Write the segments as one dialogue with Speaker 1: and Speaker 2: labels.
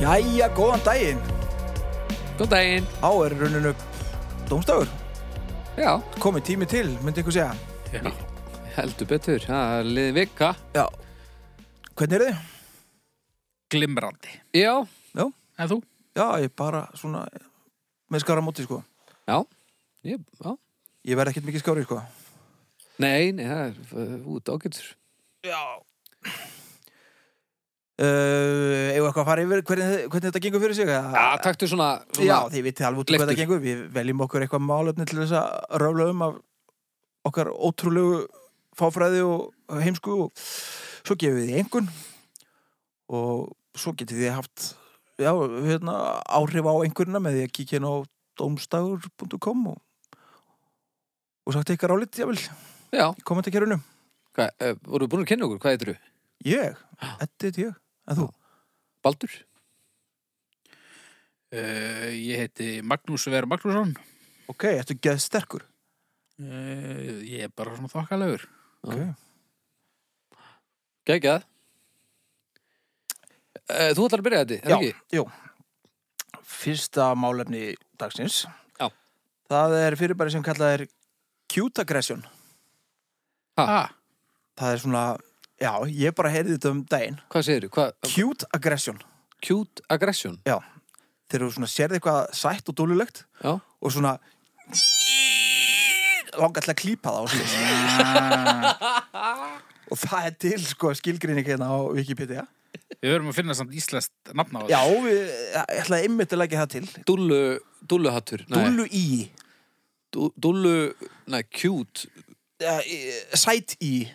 Speaker 1: Jæja, góðan daginn
Speaker 2: Góð daginn.
Speaker 1: Á er runninu Dómstagur
Speaker 2: Já.
Speaker 1: Komið tími til, myndi ykkur segja
Speaker 2: Já. Heldur betur. Það er liðin vika.
Speaker 1: Já Hvernig er þið?
Speaker 3: Glimrandi.
Speaker 2: Já.
Speaker 3: En þú?
Speaker 1: Já, ég bara svona með skara móti sko
Speaker 2: Já. Ég, já.
Speaker 1: Ég verð ekkert mikið skári sko
Speaker 2: Nei, nei, það er uh, út ágættur.
Speaker 1: Já Uh, Eða eitthvað að fara yfir hvernig, hvernig þetta gengur fyrir sig
Speaker 2: Já, taktu svona, svona
Speaker 1: Já, þið vitið alveg út hvað
Speaker 2: Leiftur.
Speaker 1: þetta gengur Við veljum okkur eitthvað málefni til þess að rála um af okkar ótrúlegu fáfræði og heimsku og svo gefum við því einhvern og svo getið þið haft já, hérna, áhrif á einhverjuna með því að kíkja inn á domstagur.com og, og sagt eitthvað rálit, jável,
Speaker 2: Já.
Speaker 1: í kommentarkerfinu
Speaker 2: Hva, uh, voru búin að kynna okkur? Hvað heitir þú?
Speaker 1: Ég? Þetta er ég, en þú?
Speaker 2: Baldur?
Speaker 3: Uh, ég heiti Magnús Ver Magnússon.
Speaker 1: Ok, ertu geð sterkur?
Speaker 3: Uh, ég er bara svona þokkalegur.
Speaker 1: Ok,
Speaker 2: Gægjað. Uh, þú ætlar að byrja þetta, er
Speaker 1: Já,
Speaker 2: það ekki?
Speaker 1: jú. Fyrsta málefni dagsins.
Speaker 2: Já.
Speaker 1: Það er fyrirbæri sem kallað er cute aggression.
Speaker 3: Ah,
Speaker 1: Það er svona, já, ég bara heyrði þetta um daginn.
Speaker 2: Hvað segir þú? Hvað,
Speaker 1: Cute aggression.
Speaker 2: cute aggression?
Speaker 1: Þegar þú svona sérði eitthvað sætt og dúlulegt
Speaker 2: Já.
Speaker 1: og svona langar til að klípa það og svona. og það er til, sko, skilgrinning hérna á Wikipedia.
Speaker 3: við verum að finna samt íslenskt nafn á
Speaker 1: Já, við, ég ætlaði einmitt að leggja það til.
Speaker 2: Dúllu, dúlluhattur? Nei.
Speaker 1: Dúlu í.
Speaker 2: Dú- Dúllu, nei, cute.
Speaker 1: eh, eh, Sæt í.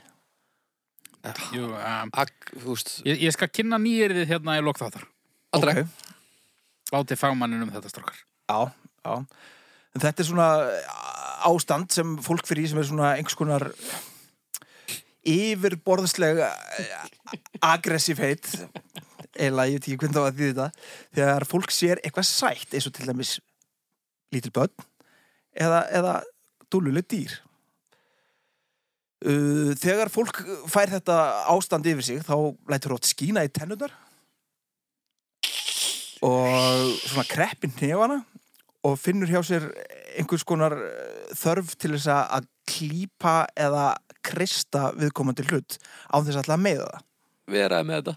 Speaker 3: Jú, um,
Speaker 2: Ag, þú veist,
Speaker 3: ég, ég skal kynna nýjirðið hérna í lokþáttar.
Speaker 2: allra.
Speaker 1: Ok.
Speaker 3: Látið fagmannin um þetta strókar.
Speaker 1: Já, já. En þetta er svona eh, ástand sem fólk fyrir í sem er svona einhvers konar yfirborðsleg eh, aggressív heit eða ég veit ekki hvernig það var að því þetta þegar fólk sér eitthvað sætt eins og til dæmis lítil börn eða, eða dúluleg dýr Uh, Þegar fólk fær þetta ástand yfir sig þá lætur rótt skína í tennunar og svona kreppin nefana og finnur hjá sér einhvers konar eh, þörf til þess að- að klípa eða krista viðkomandi hlut á þess að ætla að meiða það.
Speaker 2: Veraði með þetta.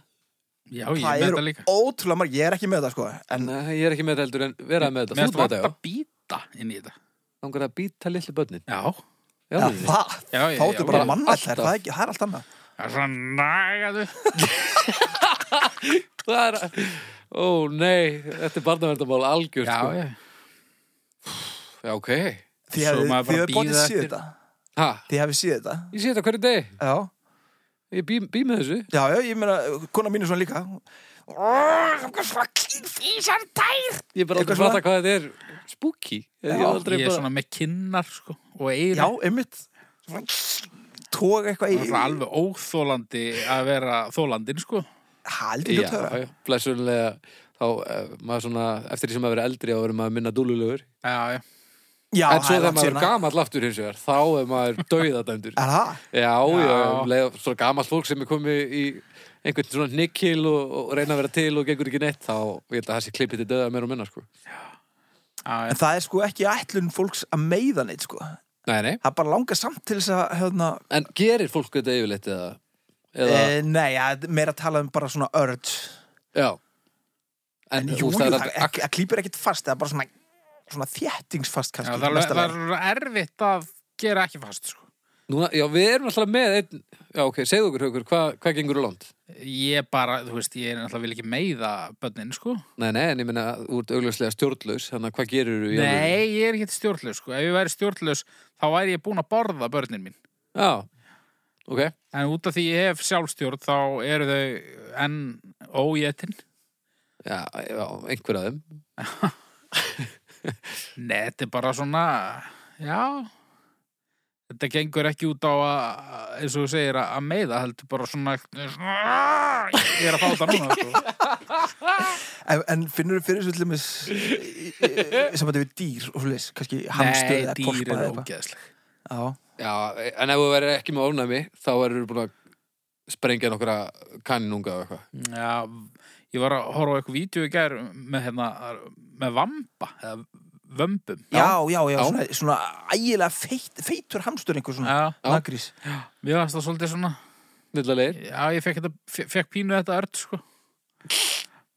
Speaker 3: Já, ég
Speaker 1: það
Speaker 3: með þetta
Speaker 1: eru
Speaker 3: líka.
Speaker 1: ótrúlega marg, ég er ekki með þetta sko, en
Speaker 2: Nei, ég er ekki með þetta heldur en veraði með þetta. Þú
Speaker 3: Mér
Speaker 2: ert með
Speaker 3: ertu vant
Speaker 2: þetta, já.
Speaker 3: að býta inn í þetta.
Speaker 2: langar að býta litlu börnin
Speaker 3: Já.
Speaker 2: já,
Speaker 1: ja,
Speaker 2: já,
Speaker 1: það,
Speaker 3: Já, já,
Speaker 1: þá
Speaker 3: já,
Speaker 1: ertu bara
Speaker 2: já.
Speaker 1: mannætt, það, er
Speaker 2: Alltaf.
Speaker 1: ekki- það er allt annað.
Speaker 3: Það er svona nagaðu.
Speaker 2: það er ó nei, þetta er barnaverndamál algjör
Speaker 3: Já,
Speaker 2: sko.
Speaker 3: já.
Speaker 2: já, ok
Speaker 1: Því
Speaker 3: Svo
Speaker 1: hefði,
Speaker 3: maður bara
Speaker 1: því hefði
Speaker 3: bíða
Speaker 1: bótið síð
Speaker 3: eftir-
Speaker 1: þetta,
Speaker 2: ha,
Speaker 1: því hefði síð þetta,
Speaker 2: ég sé þetta hverju deg
Speaker 1: já.
Speaker 2: ég bý, bý með þessu
Speaker 1: Já, já, ég meina, kona mín er svona líka
Speaker 2: ég er
Speaker 1: Eitthvað
Speaker 2: bara aldrei að fatta hvað þetta er spooky já, ég,
Speaker 1: Já,
Speaker 2: er aldrei
Speaker 3: Ég er
Speaker 2: bara,
Speaker 3: svona með kinnar, sko, og eira.
Speaker 1: Já, einmitt Tók eitthvað
Speaker 3: Það er
Speaker 1: í
Speaker 3: svona alveg óþólandi að vera þólandin, sko.
Speaker 1: Haldi
Speaker 2: já,
Speaker 1: hlut höra
Speaker 2: já, blessunlega þá eh, maður svona, eftir því sem maður er eldri þá verður maður minna dúlulegur
Speaker 3: Já, já.
Speaker 1: Já,
Speaker 2: en svo
Speaker 1: er
Speaker 2: þegar
Speaker 1: langt
Speaker 2: maður er
Speaker 1: síðan. eh.
Speaker 2: gamall aftur hins vegar þá er maður dauðadæmdur já,
Speaker 1: Er það?
Speaker 2: já,
Speaker 3: Já.
Speaker 2: um leið og svona gamall fólk sem er komið í einhvern svona nikkil og, og reyna að vera til og gengur ekki neitt þá ég held að það sé klippið til döða meira og minna sko.
Speaker 3: já, já.
Speaker 1: En það er sko ekki ætlun fólks að meiða neitt sko. Það
Speaker 2: nei, nei
Speaker 1: er bara langar samt til þess að hérna,
Speaker 2: En gerir fólk þetta yfirleitt eða? eða
Speaker 1: e, Nei, ja, meira að tala um bara svona örd
Speaker 2: já. En,
Speaker 1: En
Speaker 2: en
Speaker 1: jú, jú,
Speaker 2: úst,
Speaker 1: það
Speaker 2: það er
Speaker 1: það klýpir ekkit fast Það er bara svona, svona þéttingsfast
Speaker 3: Já,
Speaker 1: kannski
Speaker 3: það, er,
Speaker 1: mesta
Speaker 3: það
Speaker 1: lagi.
Speaker 3: er erfitt að gera ekki fast sko.
Speaker 2: núna, Já, við erum alltaf með einn Já, ok, segðu okkur, Haukur, hvað hva gengur úr land?
Speaker 3: Ég bara, þú veist, ég er náttúrulega vil ekki meiða börnin sko.
Speaker 2: Nei, nei, en ég meina, þú ert augljóslega stjórnlaus Þannig að hvað gerir þú?
Speaker 3: Nei, ég er ekki stjórnlaus sko. Ef ég væri stjórnlaus, þá væri ég búin að borða börnin mín
Speaker 2: Já, ok
Speaker 3: En út af því ég hef sjálfstjórn, þá eru þau enn óétin
Speaker 2: Já, já einhver af þeim
Speaker 3: Nei, þetta er bara svona, já Þetta gengur ekki út á að, eins og þú segir, að að meiða heldur bara svona Ég er að fá þetta núna sko.
Speaker 1: En, en finnur þú fyrir svo til eh, þess sem þetta við dýr og hlulis kannski hamstur
Speaker 3: Nei,
Speaker 1: eða
Speaker 3: dýr
Speaker 1: kolpa
Speaker 3: er
Speaker 1: eða eitthvað
Speaker 3: ógeðsleg
Speaker 1: Já,
Speaker 2: Já, en ef þú verður ekki með ofnæmi Þá verður þú búin að sprengja nokkra kaninunga eða eitthvað
Speaker 3: Já, ég var að horfa á eitthvað vídeo í gær með, hérna, með vamba eða vömbum
Speaker 1: já, já, já,
Speaker 2: Já.
Speaker 1: svona, svona ægilega feit, feitur hamstur einhver svona
Speaker 3: Já,
Speaker 2: Já.
Speaker 1: nagrís
Speaker 3: mér varst það svolítið svona
Speaker 2: Nillalegir.
Speaker 3: Já, ég fekk, þetta, fe- fekk pínu þetta ört sko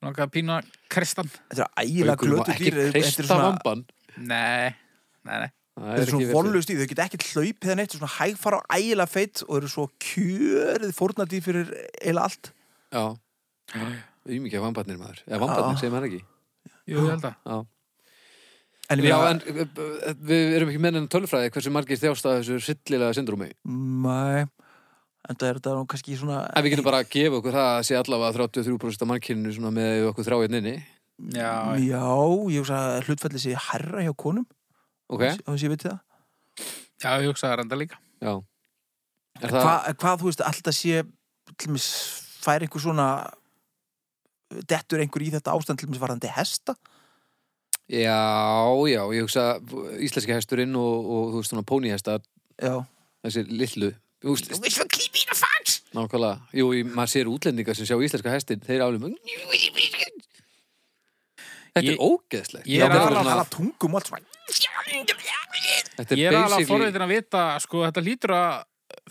Speaker 3: Langaði að pínu að kristan
Speaker 1: þetta er ægilega glötu dýr
Speaker 2: Ekki
Speaker 1: þetta er
Speaker 2: kreista
Speaker 1: svona,
Speaker 2: vamban.
Speaker 3: Nei, nei, nei
Speaker 1: þetta er svona vonlust dýr, þau geta ekki hlaupið eða neitt, þetta er svona hægfara og ægilega feit og eru svo kjörið fórnadýr fyrir eila allt
Speaker 2: Já. Í mikið vambarnir maður. Eða vambarnir,
Speaker 1: Já.
Speaker 2: segir maður ekki.
Speaker 3: Jú, ég held að
Speaker 2: Já.
Speaker 1: en,
Speaker 2: Já, en uh, uh, við erum ekki mennin tölfræði hversu margir þjást af þessu sillilega syndrúmi.
Speaker 1: mæ, en það er þetta nú kannski svona
Speaker 2: En við getum bara að gefa okkur það að sé allavega 33% af mannkyninu svona með okkur þráinn inni.
Speaker 3: Já,
Speaker 1: já, ég hugsa að hlutfallið sé herra hjá konum
Speaker 2: Ok?
Speaker 1: á þess ég veit það
Speaker 3: já ég hugsaði renda líka
Speaker 2: Já. Er
Speaker 1: Hva,
Speaker 2: það...
Speaker 1: hvað þú veist, alltaf sé til mis, fær einhver svona dettur einhver í þetta ástand til mis varðandi hesta
Speaker 2: Já, já, ég hugsa íslenski hesturinn og, og þú veist svona pónihestar,
Speaker 1: já,
Speaker 2: þessi lillu. Þú veist,
Speaker 1: þú veist, keep in a fox
Speaker 2: nákvæmlega, jú, í- maður sér útlendingar sem sjá íslenska hestin, þeir álum Þetta
Speaker 3: Ég-
Speaker 2: er ógeðslegt.
Speaker 1: ég
Speaker 3: Ég
Speaker 1: er
Speaker 3: er
Speaker 1: að
Speaker 3: alveg-
Speaker 1: tala tungum og allt svona
Speaker 2: Þetta
Speaker 3: Ég
Speaker 2: er
Speaker 3: er alveg
Speaker 2: basically...
Speaker 3: forveitin að vita sko, þetta lítur að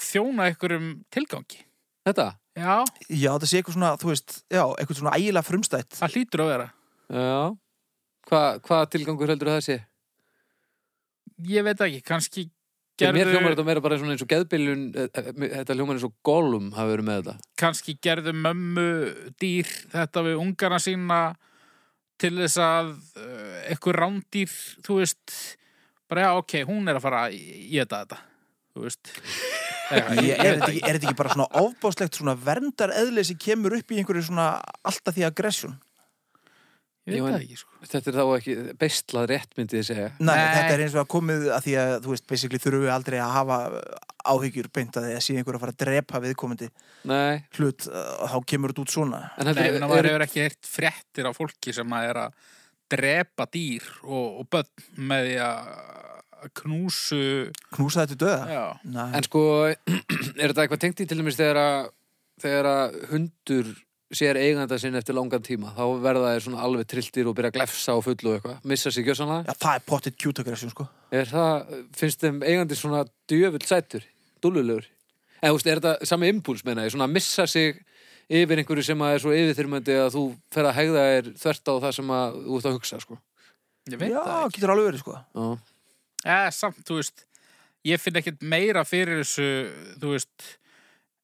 Speaker 3: þjóna einhverjum tilgangi
Speaker 2: Þetta?
Speaker 3: Já,
Speaker 1: já, það sé eitthvað svona, þú veist, já, eitthvað svona ægilega frumstætt
Speaker 3: það lítur að vera
Speaker 2: Já. Hva, hvað tilgangur heldur það sé?
Speaker 3: Ég veit ekki, kannski
Speaker 2: Gerðu... Mér hljómar
Speaker 3: gerðu,
Speaker 2: þetta meira bara svona eins og geðbylun, eh, eh, þetta hljómar eins og golum hafi verið með þetta.
Speaker 3: kannski gerðu mömmu dýr þetta við ungarna sína til þess að uh, eitthvað rándýr, þú veist bara já, ok, hún er að fara að geta þetta, þú veist Eitthvað,
Speaker 1: ég, er, þetta ekki, er þetta ekki bara svona ofbáslegt svona verndar sem kemur upp í einhverju svona alltaf því aggression
Speaker 3: Ég veit það ekki, sko
Speaker 2: Þetta er þá ekki beistlað rétt, myndi ég segja.
Speaker 1: Nei,
Speaker 3: Nei.
Speaker 1: þetta er eins og að komið að því að, þú veist, basically þurfum við aldrei að hafa áhyggjur beint að því að sé einhver að fara að drepa viðkomandi
Speaker 2: Nei.
Speaker 1: hlut, uh, þá kemur þetta út svona
Speaker 2: En
Speaker 3: Nei,
Speaker 2: heldur,
Speaker 3: menn að
Speaker 2: er,
Speaker 3: maður hefur ekki heyrt fréttir af fólki sem að er að drepa dýr og, og börn með því að knúsu
Speaker 1: knúsa þetta döða
Speaker 3: já,
Speaker 1: Nei,
Speaker 2: En sko, er þetta eitthvað tengt í til dæmis þegar að, þegar að hundur sér eiganda sinn eftir langan tíma þá verða þeir svona alveg trilltir og byrja að glefsa á fullu og eitthvað, missa sig gjössanlega
Speaker 1: ja, það er pottit cute aggression sko
Speaker 2: er það, finnst þeim eigandi svona djöfull sætur, dúlulegur eða þú veist, er þetta sami impuls meina ég, svona að missa sig yfir einhverju sem að er svo yfirþyrmandi að þú fer að hegða þér þvert á það sem að þú ert að hugsa sko.
Speaker 3: ég veit
Speaker 1: Já,
Speaker 3: það ekki
Speaker 1: getur alveg verið sko
Speaker 2: Já.
Speaker 3: eða samt, þú veist ég finn ekkert meira fyrir þessu þú veist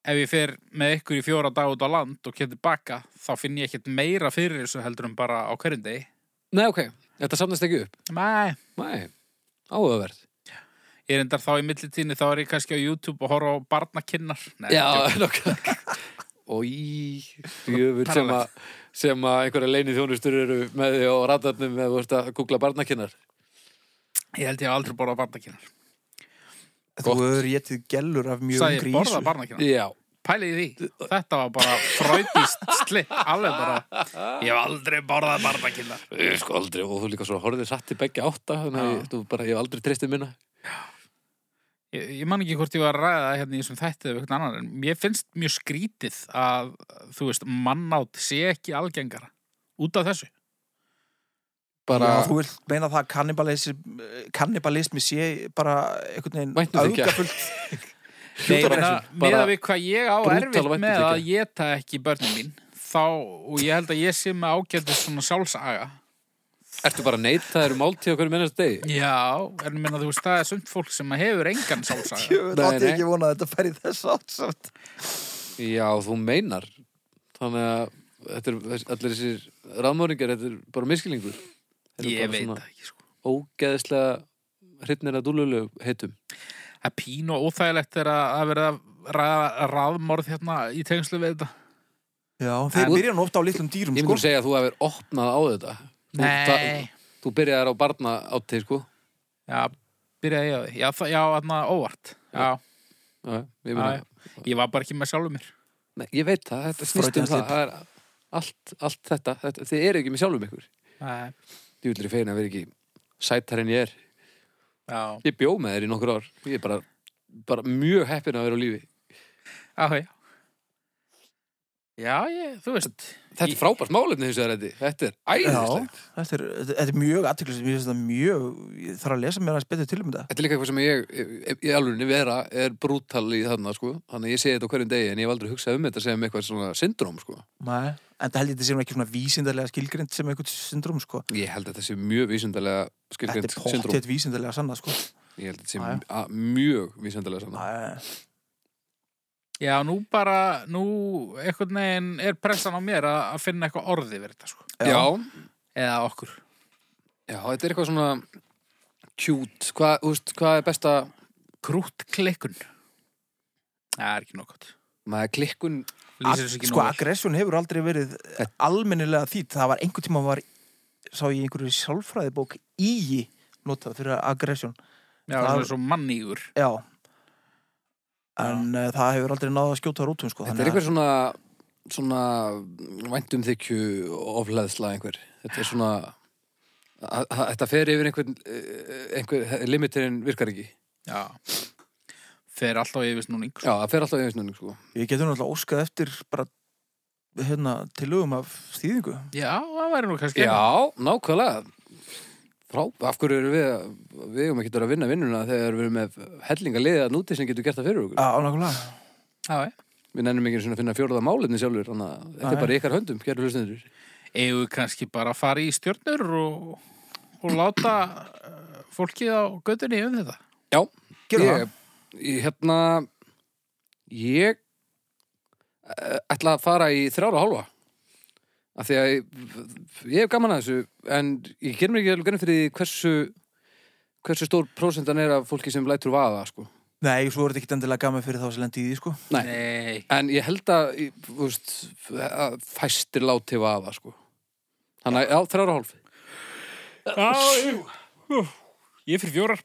Speaker 3: ef ég fer með ykkur í fjóra dag út á land og kemur tilbaka, þá finn ég ekkert meira fyrir þessu heldur en bara á hverjum degi
Speaker 2: Nei, ok, þetta samnast ekki upp
Speaker 3: Nei,
Speaker 2: Nei, áhugaverð
Speaker 3: ég reyndar þá í millitíni þá er ég kannski á YouTube og horfa á barnakinnar Nei,
Speaker 2: Já,
Speaker 3: djók.
Speaker 2: nokkað Í, jöfur sem að sem að einhverja leini þjónustur eru með því á ratarnum eða þú ert að googla barnakinnar
Speaker 3: ég held ég hef aldrei borðað barnakinnar
Speaker 1: Þú hefur getið gellur af mjög
Speaker 3: Sæði
Speaker 1: yngri ísu
Speaker 3: borðað barnakinnar
Speaker 2: Já,
Speaker 3: pælið í því, þetta var bara fröydist slipp, alveg bara ég hef aldrei borðað barnakinnar
Speaker 2: Ég sko aldrei og þú líka svo horfðir satt í begge átta þannig að
Speaker 3: Já.
Speaker 2: ég- þú bara, ég hef aldrei treystið minna
Speaker 3: ég, ég man ekki hvort ég var að ræða það hérna í þessum þætti eða eitthvað annar en mér finnst mjög skrítið að þú veist, mannátt sé ekki algengara út af þessu
Speaker 2: bara,
Speaker 1: Já, Þú vilt meina það að kannibalism, kannibalismi sé bara einhvern veginn
Speaker 2: Væntumþykja.
Speaker 1: öfgafullt
Speaker 3: Nei, ég
Speaker 1: cute
Speaker 3: meina,
Speaker 1: aggression
Speaker 2: bara
Speaker 3: með að við hvað ég á
Speaker 2: brútal
Speaker 3: erfitt með
Speaker 2: væntumþykja.
Speaker 3: að geta ekki börnum mín þá, og ég held að ég sé með ágætið svona sjálfsaga
Speaker 2: ertu bara neitt það eru máltíð á hverju mennast degi
Speaker 3: já, en ég meina þú veist, það er sumt fólk sem hefur engan sjálfsaga
Speaker 1: Ég
Speaker 2: Nei,
Speaker 1: átti
Speaker 2: nei.
Speaker 1: ekki vona að þetta færi þess átt
Speaker 2: Já, þú meinar þannig að þetta er, þess- allir þessir ráðmóringar, þetta er bara miskilingur Þetta er
Speaker 3: ég
Speaker 2: bara
Speaker 3: veit
Speaker 2: svona
Speaker 3: það ekki sko
Speaker 2: Ógeðslega hrytnir að dúlulegu heitum
Speaker 3: Það er pínu og óþægilegt er að, að vera ra raðmorð hérna í tengslu við þetta.
Speaker 1: Já, þeir
Speaker 2: En-
Speaker 1: byrja nú ofta á litlum dýrum
Speaker 2: Ég
Speaker 1: sko
Speaker 2: myndi segja að þú hefur opnað á þetta Þú- það- Þú byrjaðar á barna átti, sko
Speaker 3: Já, byrjaði ég á því. Já, það, já, þarna óvart. Já,
Speaker 2: Já, Ég, meina,
Speaker 3: Já, ég var bara ekki með sjálfur mér.
Speaker 2: nei, ég veit það, þetta snýst um
Speaker 1: Freudian
Speaker 2: það,
Speaker 1: slip.
Speaker 2: það er allt, allt þetta, þetta, þið eru ekki með sjálfum ykkur
Speaker 3: Nei,
Speaker 2: Þið vildur í fegin að vera ekki sætar en ég er
Speaker 3: já.
Speaker 2: Ég bjó með þér í nokkur ár Ég er bara, bara mjög heppin að vera á lífi
Speaker 3: Já, já. Já, ég, þú veist
Speaker 2: Þetta er frábært málefni þessu er þetta Þetta er æðislegt
Speaker 1: þetta er, þetta er mjög aðtiklislega, ég finnst þetta mjög, ég þarf að lesa mér aðeins betur til um þetta.
Speaker 2: Þetta er líka eitthvað sem ég, ég- í alvörinni vera, er brútal í þarna, sko. Þannig að ég segi þetta á hverjum degi, en ég hef aldrei hugsað um þetta sem eitthvað svona syndróm, sko.
Speaker 1: Nei. En það held ég þetta sem ekki svona vísindarlega skilgrind sem eitthvað syndróm, sko.
Speaker 2: Ég held að þetta sé mjög vísindalega
Speaker 1: Þetta
Speaker 2: skilgjönd
Speaker 1: er
Speaker 2: syndróm.
Speaker 1: pottet vísindarlega sanna, sko.
Speaker 2: Ég held að þetta sé
Speaker 1: Já, já.
Speaker 2: a- mjög vísindalega saman.
Speaker 1: Nei.
Speaker 3: Já, nú bara, nú einhvern veginn er pressan á mér að, að finna eitthvað orði verið þetta, sko
Speaker 2: Já,
Speaker 3: Eða okkur
Speaker 2: já, þetta er eitthvað svona cute. Hvað, þú veist, hvað er besta...
Speaker 3: Krúttklikkun Það er ekki nokkvæmt
Speaker 2: Maður klikkun...
Speaker 1: Ag-
Speaker 3: Lýsir þessu ekki
Speaker 1: sko,
Speaker 3: nógu vel.
Speaker 1: aggression hefur aldrei verið eh, almennilega þýtt, það var einhvern tíma var, sá ég í einhverju sjálfræðibók í notað fyrir aggression
Speaker 3: Já,
Speaker 1: það-
Speaker 3: það er svo mannígur
Speaker 1: já en uh, það hefur aldrei náða að skjóta rútum sko,
Speaker 2: Þetta er eitthvað svona, svona væntum þykju ofleðsla einhver. Þetta er svona... að- að- Þetta fer yfir einhvern, eh, einhver limiterinn virkar ekki.
Speaker 3: Já Fer alltaf yfir snúning
Speaker 2: Já, það fer alltaf í einsnöning, sko.
Speaker 1: að við getum náttúrulega óskað eftir bara hérna, tilögum af þýðingu
Speaker 3: Já, það væri nú kannski
Speaker 2: Já, nákvæmlega Frá, af hverju erum við að- við erum ekki að vinna vinnuna þegar við erum með hellinga liða núti sem getur gert það fyrir
Speaker 1: á
Speaker 2: okkur
Speaker 1: Ah, nákvæmlega
Speaker 3: Já,
Speaker 2: Við nennum ekki einu sinni að finna fjórða málefni sjálfur þannig að þetta
Speaker 1: Nei.
Speaker 2: er bara í ykkar höndum, gerðu hlustundur
Speaker 3: eigum við kannski bara að fara í stjörnur og, og láta eh, fólkið á göttunni um þetta
Speaker 2: Já,
Speaker 1: Gerðu
Speaker 2: ég, ég hérna ég eh, ætla að fara í þrjára hálfa af því að ég, ég hef gaman að þessu en ég ger mér ekki alveg genið fyrir því hversu hversu stór prósentan er af fólki sem lætur vaða sko.
Speaker 1: nei, svo er þetta ekki endilega gaman fyrir þá sem lendi í því sko
Speaker 2: Nei,
Speaker 3: Nei,
Speaker 2: En ég held að, í- þú veist, að fæstir láti vaða, sko. Þannig að, já, þrjára hálf.
Speaker 3: Já, ég, ég fyrir fjórar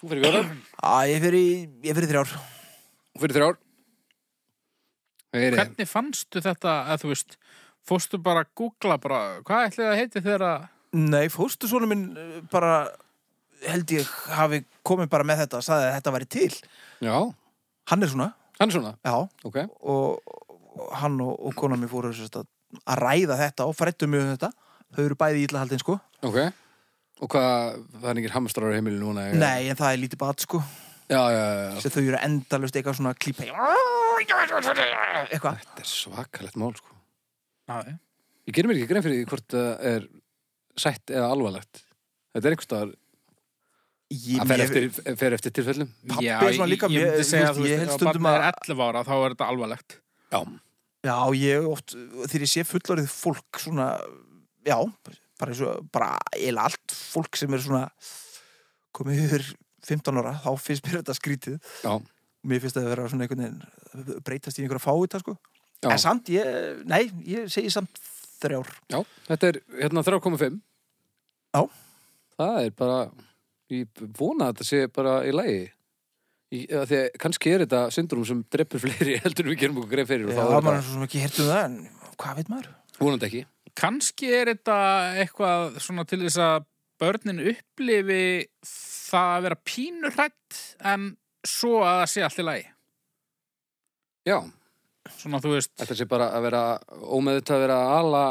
Speaker 2: Þú fyrir fjórar.
Speaker 1: að ég fyrir, ég fyrir þrjár
Speaker 2: Þú fyrir þrjár. Heyri,
Speaker 3: Hvernig fannstu þetta að þú veist fórstu bara að googla bara hvað ætli það heiti þegar að
Speaker 1: nei, fórstu svona minn eh, bara held ég hafi komið bara með þetta og sagði að þetta væri til
Speaker 2: já,
Speaker 1: hann er svona,
Speaker 2: hann er svona,
Speaker 1: já
Speaker 2: ok.
Speaker 1: og og hann og, og konan mér fóru sérst, að, að ræða þetta og frættu mjög um þetta þau eru bæði í illahaldin sko
Speaker 2: Ok. Og hvað, það er ekki hamstrar á heimilinu núna? eða?
Speaker 1: nei en það er lítið bat sko
Speaker 2: Já, já, já, já.
Speaker 1: sem þau eru endalust eitthvað svona klípa í- eitthvað
Speaker 2: Þetta er svakalegt mál, sko.
Speaker 3: Já,
Speaker 2: Ég gerir mér ekki grein fyrir því hvort það er sætt eða alvarlegt. Þetta er einhverstaðar,
Speaker 1: ég,
Speaker 2: það fer
Speaker 1: mér,
Speaker 2: eftir, fer eftir tilfellum.
Speaker 1: Pabbi
Speaker 3: já
Speaker 1: er
Speaker 3: ég,
Speaker 1: svona líka
Speaker 3: ég
Speaker 1: mjög-
Speaker 3: myndi
Speaker 1: þú
Speaker 3: segja
Speaker 1: veist,
Speaker 3: að þú
Speaker 1: ég
Speaker 3: veist
Speaker 1: held
Speaker 3: ef
Speaker 1: stundum
Speaker 3: barnið er
Speaker 1: að-
Speaker 3: 11 ára þá er þetta alvarlegt
Speaker 2: Já.
Speaker 1: já ég oft þegar ég sé fullorðið fólk svona já bara eins og bara eða allt fólk sem er svona komið yfir 15 ára þá finnst mér þetta skrítið
Speaker 2: Já.
Speaker 1: mér finnst það að vera svona einhvern veginn breytast í einhverja fáið sko
Speaker 2: Já.
Speaker 1: en samt ég nei ég segi samt þrjár
Speaker 2: Já, þetta er hérna 3,5
Speaker 1: Já.
Speaker 2: Það er bara ég vona að þetta sé bara í lægi í, að því að kannski er þetta syndrúm sem dreppur fleiri heldur en við gerum okkur greið fyrir og
Speaker 1: Já,
Speaker 2: þá
Speaker 1: maður
Speaker 2: er
Speaker 1: er
Speaker 2: þetta
Speaker 1: svo sem ekki hirt um það en hvað veit maður?
Speaker 2: vonandi ekki
Speaker 3: Kanski er þetta eitthvað svona til þess að börnin upplifi það að vera pínurrætt en svo að það sé allt í lagi
Speaker 2: Já,
Speaker 3: svona þú veist
Speaker 2: þetta sé bara að vera ómeðut að vera ala,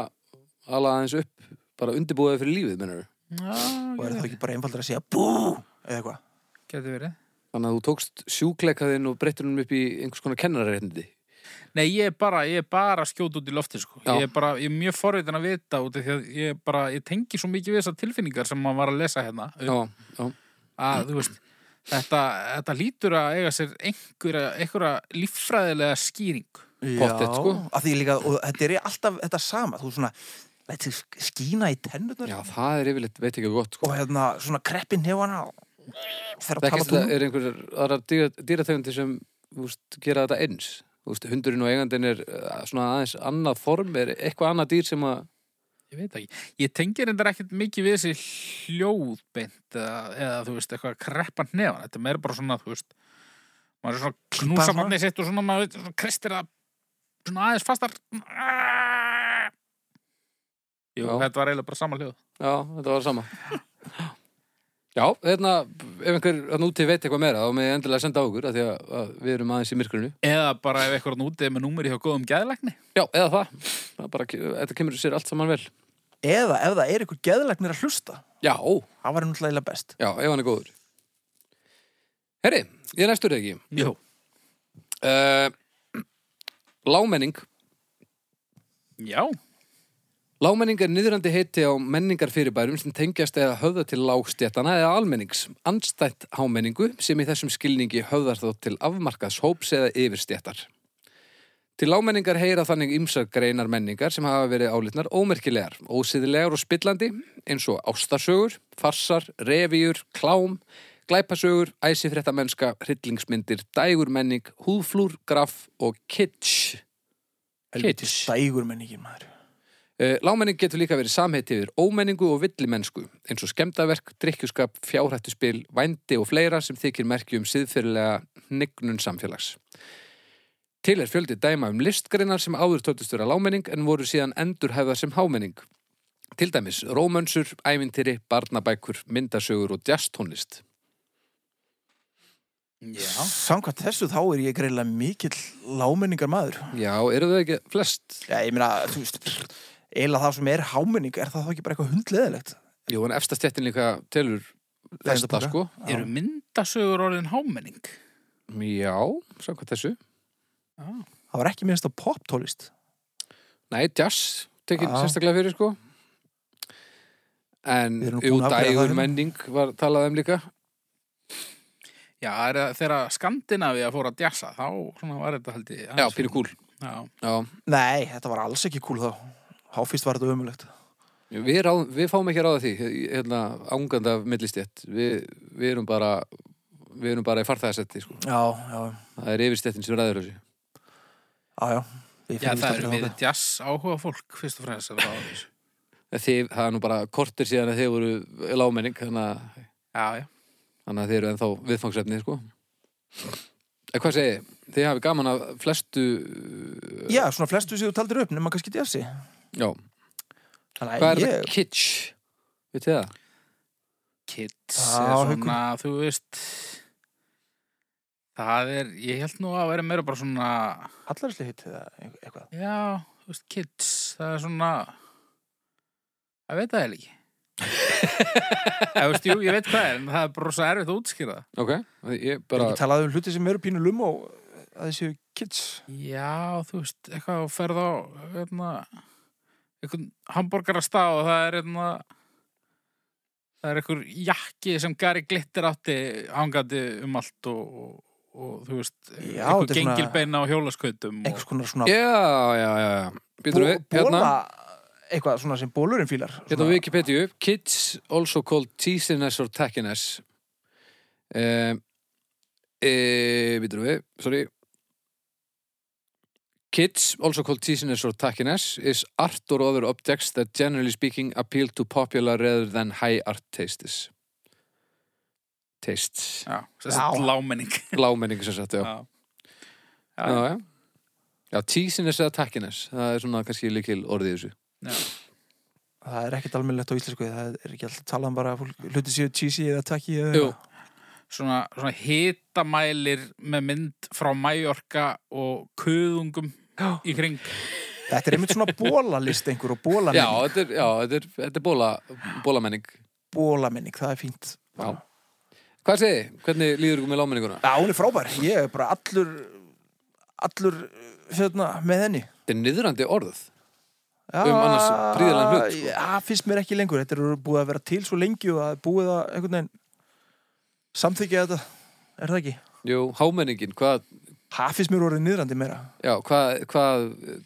Speaker 2: ala aðeins upp bara undirbúið fyrir lífið mennur
Speaker 3: Já,
Speaker 1: Og er það
Speaker 3: geti-
Speaker 1: ekki bara einfaldur að segja bú eða eitthvað?
Speaker 3: geti verið
Speaker 2: Þannig að þú tókst sjúkleikaðinn og breyttir hennum upp í einhvers konar kennarreitndi
Speaker 3: Nei, ég er bara, ég er bara að skjóta út í lofti sko.
Speaker 2: Já.
Speaker 3: ég, er bara, ég er mjög forvitin að vita út af því að ég, er bara, ég tengi svo mikið við þessar tilfinningar sem maður var að lesa hérna
Speaker 2: Já, já,
Speaker 3: að, þú veist, þetta, þetta lítur að eiga sér einhverja, einhverja líffræðilega skýring
Speaker 2: Pottþétt, sko.
Speaker 1: Af því líka, og þetta er alltaf þetta sama, þú svona lætur skína í tennurnar
Speaker 2: já, það er yfirleitt veit ekki gott sko.
Speaker 1: og hérna svona kreppin hefana þegar að tala
Speaker 2: Það er ekki það
Speaker 1: tónum.
Speaker 2: er einhverjar aðrar dýra- dýrategundir sem úst, gera þetta eins úst, hundurinn og eigandinn er uh, svona aðeins annað form, er eitthvað annað dýr sem að
Speaker 3: ég veit ekki, ég tengi reyndar ekkert mikið við þessi hljóðbeint eða, eða þú veist, eitthvað kreppan nefan þetta er meira bara svona, þú veist maður er svona
Speaker 1: Klípa svona?
Speaker 3: knúsabarnið sitt og svona maður veit, svona kristir það svona aðeins fastar Jú,
Speaker 2: Já.
Speaker 3: þetta var eiginlega bara sama hljóð
Speaker 2: já, þetta var sama Já, Já, hérna, ef einhver hann úti veit eitthvað meira, þá með endilega senda á okkur, af því að, að við erum aðeins í myrkurinu.
Speaker 3: Eða bara ef eitthvað nútið með númeri hjá góðum gæðlegni.
Speaker 2: Já, eða það. það er bara, þetta kemur sér allt saman vel.
Speaker 1: Eða ef það er ykkur geðlegnir að hlusta
Speaker 2: Já,
Speaker 1: Það var náttúrulega eiginlega best
Speaker 2: já, ef hann er góður. Herri, ég er næstur ekki.
Speaker 3: Jú.
Speaker 2: Uh, lámenning.
Speaker 3: Já.
Speaker 2: Lámenning er niðurandi heiti á menningarfyrirbærum sem tengjast eða höfða til lágstjættana eða almennings, anstætt hámenningu sem í þessum skilningi höfðar þó til afmarkaðs hóps eða yfirstjættar. Til lámenningar heyra þannig ymsar greinar menningar sem hafa verið álitnar ómerkilegar, ósiðilegar og spillandi eins og ástarsögur, farsar, revíur, klám, glæpasögur, æsifrétta mennska, hryllingsmyndir, dægurmenning, húflúr, graf og kitsch. Kitsch.
Speaker 1: Dægur menningin maður
Speaker 2: Eh, Lámenning getur líka verið samheiti yfir ómenningu og villimennsku, eins og skemdaverk, drikkjuskap, fjárhættuspil, vændi og fleira sem þykir merki um siðfyrirlega hnignun samfélags. Til er fjöldi dæma um listgreinar sem áður tóttist vera lámenning en voru síðan endurhæfða sem hámenning. Til dæmis rómönsur, ævintýri, barnabækur, myndasögur og jazztónlist.
Speaker 3: Já.
Speaker 1: Samkvæmt þessu þá er ég greiðlega mikill lámenningar maður
Speaker 2: Já, eru þau ekki flest?
Speaker 1: Já, ég meina, þú veist Eila það sem er hámenning, er það þá ekki bara eitthvað hundleðilegt?
Speaker 2: Jú, en efstastjættin líka telur
Speaker 1: Það er þetta
Speaker 2: þetta
Speaker 1: bara.
Speaker 2: sko.
Speaker 3: Eru myndasögur orðin hámenning?
Speaker 2: Já, samkvæmt þessu.
Speaker 3: Já.
Speaker 1: Það var ekki minnst á poptólist
Speaker 2: Nei, jazz tekinn
Speaker 1: Já.
Speaker 2: sérstaklega fyrir sko En
Speaker 1: Við erum nú
Speaker 2: jú,
Speaker 1: búin að afgreiða það
Speaker 2: dægur
Speaker 1: hérna.
Speaker 2: menning var talað um líka
Speaker 3: Já, er það- þegar Skandinavíða fór að djassa, þá svona var þetta held ég.
Speaker 2: Já,
Speaker 3: aðeins-
Speaker 2: pínu kúl
Speaker 3: Já.
Speaker 2: Já,
Speaker 1: Nei, þetta var alls ekki cool þá Háfist var þetta ömulegt
Speaker 2: við, ráð, við fáum ekki að ráða því hérna, ángand af millistjett við, við erum bara við erum bara í farþæðasetti sko
Speaker 1: Já, já,
Speaker 2: Það er yfirstjettin sem ræður þessu
Speaker 1: já, já Við
Speaker 3: Já,
Speaker 1: finnum
Speaker 3: það
Speaker 1: þetta
Speaker 3: eru
Speaker 1: aldrei
Speaker 3: við
Speaker 1: þangað.
Speaker 3: djass áhuga fólk, fyrst og fremst. að ráða þessu.
Speaker 2: En þið, Það er nú bara kortir síðan að þið voru lámenning þannig að,
Speaker 3: Já, já.
Speaker 2: þannig að þið eru ennþá viðfangsefni sko En hvað segi, ég? þið hafi gaman af flestu
Speaker 1: Já, svona flestu séu taldir upp, nema kannski djassi
Speaker 2: Já,
Speaker 1: Þannig að
Speaker 2: hvað er
Speaker 1: ég
Speaker 2: það? Kitsch Vitið þið það?
Speaker 3: Kids
Speaker 1: Já,
Speaker 3: er
Speaker 1: haukur.
Speaker 3: svona, þú veist, það er, ég held nú að vera meira bara svona,
Speaker 1: Hallarsli hitt eða eitthvað
Speaker 3: já, þú veist, kids, það er svona, það veit það eða ekki. Já, veist, jú, ég veit hvað er, en það er bara svo erfitt að útskýra það.
Speaker 2: Ok, ég
Speaker 1: Bara...
Speaker 2: bara
Speaker 1: Ekki talað um hluti sem eru pínu lum og að þessi kids
Speaker 3: Já, þú veist, eitthvað að ferð á, hérna, einhvern hambúrgarastað og það er, hérna, það er einhver jakki sem Gary Glitter átti hangandi um allt og, og, og þú veist,
Speaker 1: Já, þetta
Speaker 3: einhver
Speaker 1: er svona-
Speaker 3: gengilbeina á hjólaskautum og...
Speaker 1: einhvers konar svona
Speaker 2: Já, já, já, já Býtur við,
Speaker 1: bóla
Speaker 2: hérna
Speaker 1: eitthvað svona sem bólurinn fílar
Speaker 2: Hérna á Wikipedia Kids also called teasiness or tackiness eh, eh, Býtur við, sorry Kids, also called teasiness or tackiness, is art or other objects that generally speaking appeal to popular rather than high art tastes. Tastes.
Speaker 3: Já, þess að
Speaker 1: Já.
Speaker 3: lámenning.
Speaker 2: Lámenningu sem sagt, já.
Speaker 3: Já. Já,
Speaker 2: já, já. já teasiness eða takkiness það er svona kannski líkil orðið í þessu
Speaker 1: það er ekkert almennilegt á íslensku það er ekki alltaf talað um bara að fólk, hluti séu cheesy eða taki eða
Speaker 2: Jú.
Speaker 3: Svona, svona hitamælir með mynd frá Mallorca og kuðungum í kring.
Speaker 1: þetta er einmitt svona bólalist einhver og
Speaker 2: já,
Speaker 1: bólamenning
Speaker 2: þetta er, já, þetta er, þetta er bóla, bólamenning
Speaker 1: bólamenning, það er fínt
Speaker 2: já. hvað segir þið? hvernig líður ykkur með lámenninguna?
Speaker 1: Já, hún er frábær, ég er bara allur allur hérna, með henni
Speaker 2: þetta er niðrandi orð
Speaker 1: Já,
Speaker 2: Um annars prýðilegan hlut, sko.
Speaker 1: Ah, Já, finnst mér ekki lengur, þetta eru búið að vera til svo lengi og það er búið að einhvern veginn samþykja þetta, er það ekki?
Speaker 2: Jú, hámenningin, hvað,
Speaker 1: Það finnst mér orðið niðrandi meira
Speaker 2: já, hvað, hvað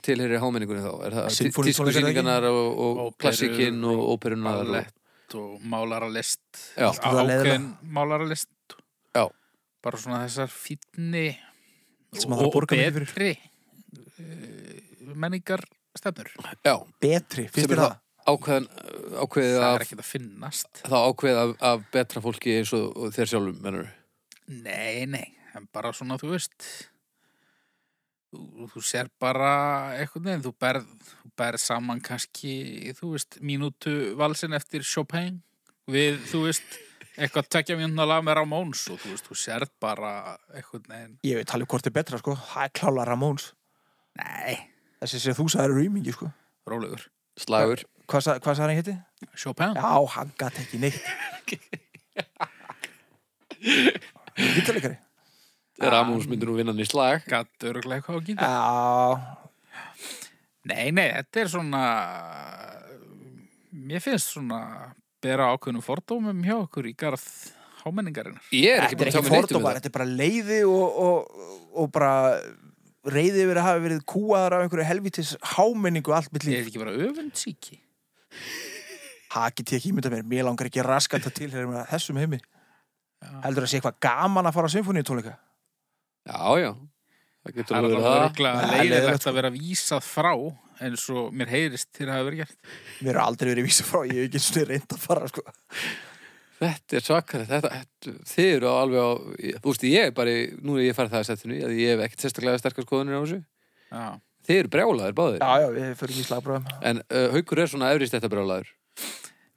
Speaker 2: tilherir hámenningunni þá? er það tí-
Speaker 1: Sinfóníutónleikar,
Speaker 2: tískusýningarnar og, og
Speaker 3: Óperur,
Speaker 2: klassikinn og óperunar og,
Speaker 3: ballett og málaralist
Speaker 2: Já.
Speaker 1: Allt þetta
Speaker 3: ákveðin
Speaker 1: leiðilega.
Speaker 3: málaralist
Speaker 2: Já.
Speaker 3: bara svona þessar fínni
Speaker 1: Sem
Speaker 3: og,
Speaker 1: maður
Speaker 3: og
Speaker 1: borgar mikið
Speaker 3: betri uh, menningar stefnur
Speaker 2: já,
Speaker 1: Betri, finnst
Speaker 2: Sem er
Speaker 1: þér það?
Speaker 2: ákveðan ákveðið
Speaker 3: það er
Speaker 2: af,
Speaker 3: ekki að finnast
Speaker 2: þá ákveðið af, af betra fólki eins og, og þér sjálfum, mennur
Speaker 3: nei, nei, en bara svona þú veist þú, þú sér bara eitthvað neginn, þú berð, þú berð saman kannski, þú veist, mínútu valsin eftir Chopin við, þú veist eitthvað tekja mjöndna lag með Ramóns og þú veist, þú sérð bara eitthvað, nei,
Speaker 1: Ég veit talið hvort er betra sko Það er klála Ramóns
Speaker 3: nei,
Speaker 1: Þessi sem þú sagði rýmingi sko
Speaker 3: rólegur
Speaker 2: Slagur
Speaker 1: Hvað, sa- hvað sagði hann hétti?
Speaker 3: Chopin,
Speaker 1: Já, hann gat ekki neitt Vítalikari
Speaker 2: Ramús myndi nú vinna hann í slag
Speaker 3: gatt öruglega eitthvað á gíta
Speaker 1: Já,
Speaker 3: Nei, nei, þetta er svona mér finnst svona bera ákveðnum fordómum hjá okkur í garð hámenningarinnar
Speaker 2: Ég er ekki
Speaker 1: þetta er ekki
Speaker 2: búin að tjá mig neitt um
Speaker 1: fordómar
Speaker 2: þetta
Speaker 1: Þetta er bara leiði og, og, og bara reyði yfir að hafa verið kúaðar af einhverju helvitis hámenningu allt mitt
Speaker 3: Er
Speaker 1: líf
Speaker 3: þetta ekki bara öfundsíki?
Speaker 1: Það get ég ekki ímynda mér, mér langar ekki raskat að tilhera mér að þessum heimi
Speaker 3: Já.
Speaker 1: Heldur að sé eitthvað gaman að fara á symfóníutónleika
Speaker 2: Já, já Það getur
Speaker 3: Það
Speaker 2: nú
Speaker 3: er
Speaker 2: verið
Speaker 3: alveg
Speaker 2: það
Speaker 3: öruglega
Speaker 1: Það er leiðilegt,
Speaker 3: leiðilegt að vera vísað frá eins og mér heyrist til að hafa verið gert
Speaker 1: Mér er aldrei verið vísa frá, ég hef ekki einu sinni reynd að fara sko.
Speaker 2: Þetta er svakar þetta, þetta, Þið eru á alveg á ég- Þú veist, ég er bara í- Nú er ég farið það að setja nú Ég hef ekkert sérstaklega sterkar skoðunir á þessu
Speaker 3: Já,
Speaker 2: Þið eru brjálaðir báðir
Speaker 1: Já, já, við förum í slagbröðum
Speaker 2: En uh, haukur er svona efrist þetta brjálaður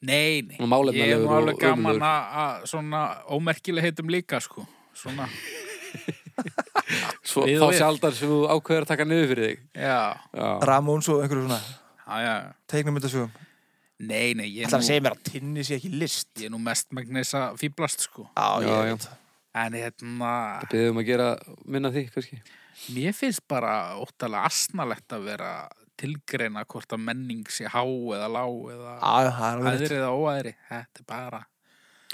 Speaker 3: Nei, nei,
Speaker 2: Og málefnalegur
Speaker 3: ég er nú
Speaker 2: og
Speaker 3: alveg gaman
Speaker 2: ömurlegur.
Speaker 3: að að svona ómerkileg heitum líka sko Svona,
Speaker 2: Svo
Speaker 3: Við
Speaker 2: þá
Speaker 3: og við.
Speaker 2: sjaldan sem þú ákveður að taka niður fyrir þig
Speaker 3: já,
Speaker 2: Já,
Speaker 1: Ramóns og einhverju svona
Speaker 3: já, já
Speaker 1: teiknumyndasögum
Speaker 3: Nei, nei, ég er
Speaker 1: Það
Speaker 3: nú,
Speaker 1: segir mér að tinni sé ekki list
Speaker 3: ég er nú mest magnis að fýblast sko
Speaker 1: Já,
Speaker 2: Já, já.
Speaker 1: ég veit
Speaker 3: En hérna,
Speaker 2: það byggðum að gera minna því, kannski
Speaker 3: Mér finnst bara óttalega asnalegt að vera tilgreina hvort að menning sé há eða lág eða
Speaker 1: Já, já, það er alveg rétt.
Speaker 3: aðri eða óaðri. Þetta er bara...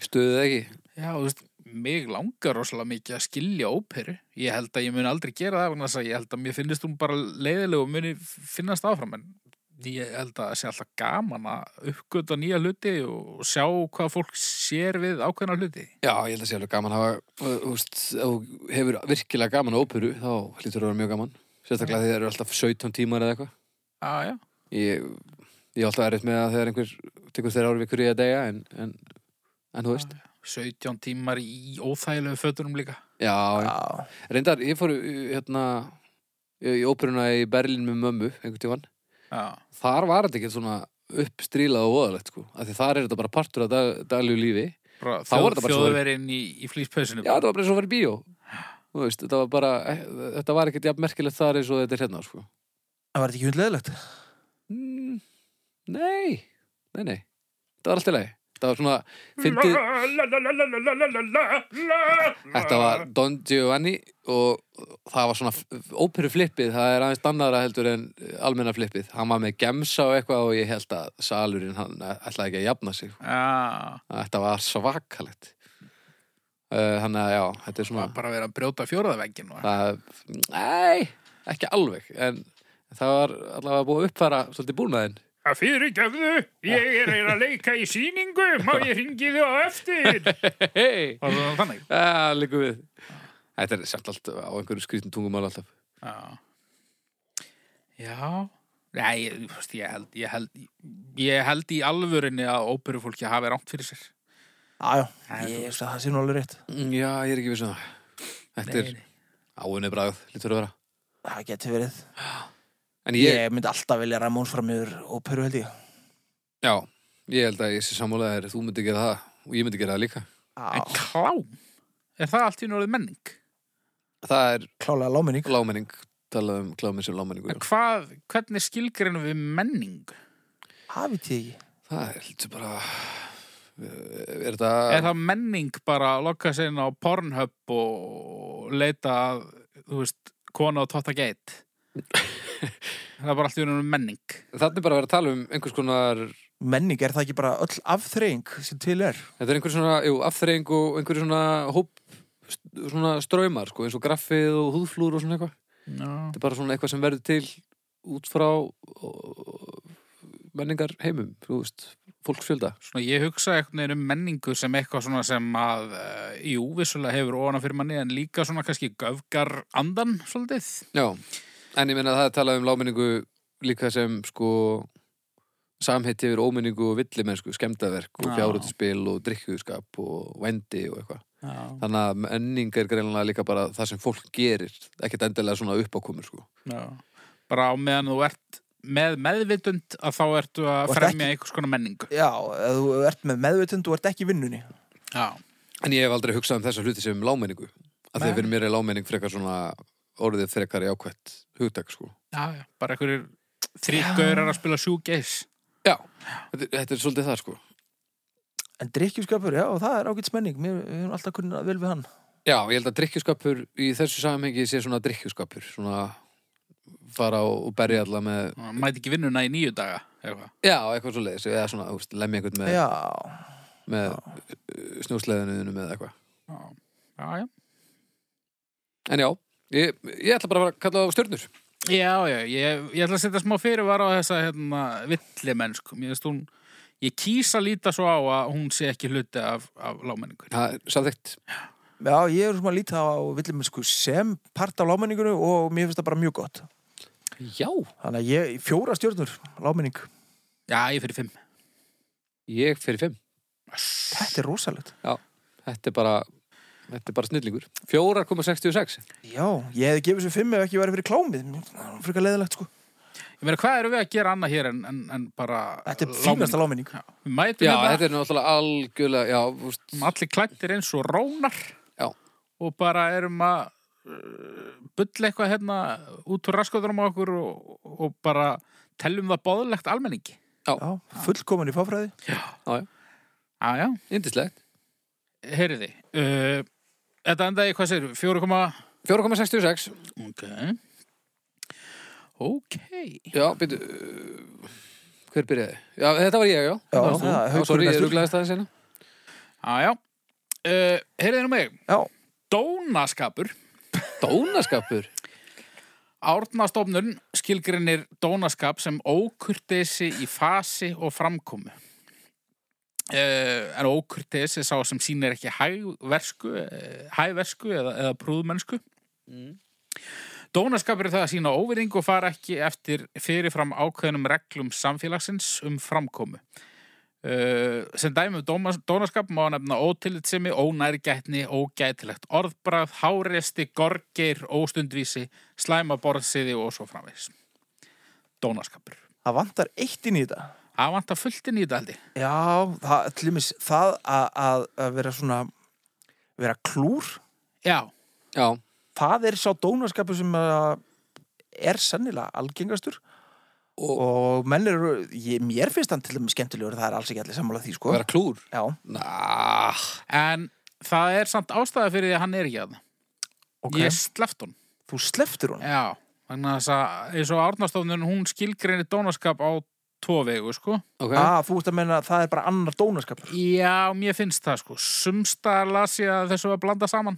Speaker 2: Stöðuð þið ekki
Speaker 3: Já, þú veist, mig langar rosalega mikið að skilja óperu. Ég held að ég mun aldrei gera það vegna þess að ég held að mér finnist hún bara leiðileg og muni finnast áfram en ég held að það sé alltaf gaman að uppgöta nýja hluti og sjá hvað fólk sér við ákveðna hluti.
Speaker 2: Já, ég held að sé alveg gaman að hafa uh, þú veist, ef þú hefur virkilega gaman á óperu þá hlýtur það að vera mjög gaman sérstaklega þegar það eru alltaf 17 tímar eða eitthvað
Speaker 3: Já, já.
Speaker 2: ég, ég er alltaf erfitt með að þegar einhver tekur þeirra ári vikur í að degja en, en, en þú veist
Speaker 3: 17 tímar í óþægilegu fötunum líka.
Speaker 2: Já, já.
Speaker 1: Já,
Speaker 2: reyndar, ég fór uh, hérna í í óperuna í Berlín með mömmu einhvern tímann,
Speaker 3: Já,
Speaker 2: þar var þetta ekki svona uppstrílað og voðalegt sko af því þar er þetta bara partur af dag, dagljú lífi
Speaker 3: bara
Speaker 2: Þá var
Speaker 3: þjóð,
Speaker 2: þetta bara svo-
Speaker 3: þjóðverinn í, í flýspöðsynum.
Speaker 2: Já, þetta var bara eins og að vera í bíó Þú veist, þetta var bara, eh, þetta var ekkert jafn merkilegt þar eins og þetta er hérna sko
Speaker 1: það var þetta ekki hundleðilegt
Speaker 2: Mm, Nei, nei, nei Það var allt í lagi Það var svona, fyndið Þetta var Don Giovanni og það var svona óperu flippið, það er aðeins dannaðra heldur en almenna flippið. Hann var með gemsa og eitthvað og ég held að salurinn hann ætlaði ekki að jafna sig.
Speaker 3: Já,
Speaker 2: Þetta var svakalegt. Uh, Þannig að já, þetta er
Speaker 3: það
Speaker 2: svona
Speaker 3: var bara að vera að brjóta fjóraðaveggin og
Speaker 2: það, nei, ekki alveg en það var allavega búið að uppfæra svolítið búnaðinn.
Speaker 3: að fyrirgefðu, ég er að leika í sýningu, má ég ringi þið á eftir.
Speaker 2: Hei,
Speaker 3: Var það þannig?
Speaker 2: það líkum við. Þetta er sjálf allt á einhverju skrítin tungumál alltaf.
Speaker 3: Já. Já. Nei, ég, þú veist, ég, held, ég, held, ég held í alvörinni að óperufólki hafi rámt fyrir sér.
Speaker 1: Já, já,
Speaker 3: Nei,
Speaker 1: ég
Speaker 3: þú
Speaker 1: veist að það sé nú alveg rétt
Speaker 2: Mm, Já, ég er ekki vissum það. Þetta er
Speaker 3: Nei, nei.
Speaker 2: áinni bragð, lítur að vera.
Speaker 1: Það geti verið
Speaker 2: En
Speaker 1: Ég,
Speaker 2: ég,
Speaker 1: myndi alltaf vilja Ramóns fram yfir óperu held ég
Speaker 2: já, ég held að ég sé sammálega þér, þú myndi gera það og ég myndi gera það líka.
Speaker 3: En
Speaker 1: Já,
Speaker 3: klám, er það allt í norðið menning?
Speaker 2: Það er
Speaker 1: klálega láminning
Speaker 2: lámenning, talað um kláminn sem lámenningu.
Speaker 3: En hvað, hvernig skilgrinu við menning?
Speaker 1: Það veit ég ekki
Speaker 2: Það er heldur bara, er það,
Speaker 3: Er það menning bara að lokka sér inn á Pornhub og leita að, þú veist, kona á Totta Gate? það er bara allt í unum menning.
Speaker 2: þarna er bara að vera að tala um einhvers konar,
Speaker 1: Menning, er það ekki bara öll afþreying sem til er
Speaker 2: þetta er einhver svona, jú, afþreying og einhver svona hóp, st- svona ströymar, sko, eins og graffið og húðflúr og svona eitthvað.
Speaker 3: Já.
Speaker 2: Þetta er bara svona eitthvað sem verður til út frá menningar heimum, þú veist, fólksfjölda.
Speaker 3: Svona ég hugsa einhvern veginn um menningu sem eitthvað svona sem að, uh, jú, vissulega hefur ofan að fyrir manni, en líka svona kannski göfgar andan, svolítið.
Speaker 2: Já, en ég meina að það er talað um láminningu líka sem sko samheiti yfir óminningu og villimennsku, skemmtaverk og
Speaker 3: Já.
Speaker 2: fjárhundspil og drikkuðskap og vendi og eitthvað.
Speaker 3: Já.
Speaker 2: Þannig að menning er greinlega líka bara það sem fólk gerir, ekkert endilega svona uppákomur sko.
Speaker 3: Bara á meðan þú ert með meðvitund að þá ertu að
Speaker 1: Og ert
Speaker 3: fremja einhvers konar menningu.
Speaker 1: Já, ef þú ert með meðvitund og ert ekki í vinnunni
Speaker 3: já,
Speaker 2: En ég hef aldrei hugsað um þessa hluti sem um lámenningu. Að því
Speaker 3: Nei.
Speaker 2: fyrir mér er lámenning frekar svona orðið frekar jákvætt hugtak, sko.
Speaker 3: já, já, bara einhverjir þrýtgaurar að spila sjúgeis
Speaker 2: Já, þetta, þetta er svolítið það, sko.
Speaker 1: En drikkjuskapur, já, það er ágætt smenning Mér við erum alltaf kunnað vel við hann
Speaker 2: Já, ég held að drikkjuskapur í þessu samhengi sé svona drikkjuskapur, svona fara og, og berja alla með,
Speaker 3: mæti ekki vinnuna í nýju daga eitthvað.
Speaker 2: já, eitthvað svo leiðis, eða svona, þú veist, lemja einhvern með,
Speaker 1: Já,
Speaker 2: með snjósleðinu með eitthvað.
Speaker 3: já, já, já,
Speaker 2: En já, ég, ég ætla bara að fara að kalla á stjörnur.
Speaker 3: já, já ég, ég ætla að setja smá fyrirvara á þessa hérna, villi mennsk ég, veist, hún, ég kýsa líta svo á að hún sé ekki hluti af, af lámenningunni
Speaker 2: Það er samþygt.
Speaker 1: já, ég er svona lítið á villimennsku sem part af lámenningunum og mér finnst það bara mjög gott
Speaker 2: Já.
Speaker 1: Þannig að ég, fjóra stjórnur, lámenning
Speaker 3: já, ég fyrir fimm
Speaker 2: Ég fyrir fimm.
Speaker 1: Þetta er rosalegt
Speaker 2: Þetta er bara, þetta er bara snillingur. 4,66.
Speaker 1: Já, ég hefði gefið sér fimm ef ekki væri fyrir klámið Mér- Það er frekar leðilegt, sko
Speaker 3: ég meina, hvað erum við að gera annað hér en, en, en bara
Speaker 1: Þetta er fínasta lámenning
Speaker 3: Já, við
Speaker 2: Já,
Speaker 3: mætum þetta
Speaker 1: hérna?
Speaker 2: þetta er náttúrulega algjörlega, já, þú veist,
Speaker 3: allir klættir eins og rónar
Speaker 2: Já.
Speaker 3: og bara erum að uh, bulla eitthvað hérna út úr raskoðurum á okkur og, og bara teljum það bóðlegt almenningi
Speaker 1: Já, fullkomin í fáfræði
Speaker 2: já, já,
Speaker 3: Já, já,
Speaker 2: indislegt.
Speaker 3: heyriði uh, Þetta endaði, hvað segir, 4,
Speaker 2: 4,66.
Speaker 3: ok Ok
Speaker 2: Já, byrju, uh, hver byrjaði? Já, þetta var ég, já. það var
Speaker 1: það er
Speaker 2: þú. já
Speaker 1: Haukur
Speaker 2: sorry, ég
Speaker 1: næstur.
Speaker 2: ruglaðist aðeins hérna.
Speaker 3: Já, já uh, Heyriði nú mig,
Speaker 1: Já,
Speaker 3: dónaskapur
Speaker 2: Dónaskapur.
Speaker 3: Árnastofnun skilgrinir dónaskap sem ókurteisi í fasi og framkomu. Uh, en ókurteisi er sá sem sýnir ekki hægversku, uh, hægversku eða, eða prúðmennsku. Dónaskapur er það að sína óvering og fara ekki eftir fyrirfram ákveðnum reglum samfélagsins um framkomu. Uh, sem dæmi um dómas- dónaskap má nefna ótillitsemi, ónærgætni, ógætilegt orðbrað, háresti, gorgeir, óstundvísi, slæma borðsiði og svo framvegis. Dónaskapur.
Speaker 1: það vantar eitt inn í þetta
Speaker 3: Það vantar fullt inn í þetta haldi.
Speaker 1: Já, það, tlumis, það að, að, að vera svona vera klúr
Speaker 3: Já,
Speaker 2: Já,
Speaker 1: það er sá dónaskapu sem að er sennilega algengastur og, menn eru ég, mér finnst hann til dæmis skemmtilegur það er alls ekki allir sammála því sko
Speaker 2: vera klúr.
Speaker 1: Já,
Speaker 2: Ná,
Speaker 3: en það er samt ástæða fyrir því að hann er ekki að það.
Speaker 1: ok,
Speaker 3: Ég sleft hún.
Speaker 1: þú sleftir hún
Speaker 3: Já, þannig að þess að eins og árnastofnun hún skilgreinir dónaskap á tvo vegu, sko.
Speaker 2: ok.
Speaker 1: að Ah, þú ert að meina að það er bara annar dónaskapur
Speaker 3: Já, mér finnst það sko. Sumstaðar las ég að þessu var að blanda saman.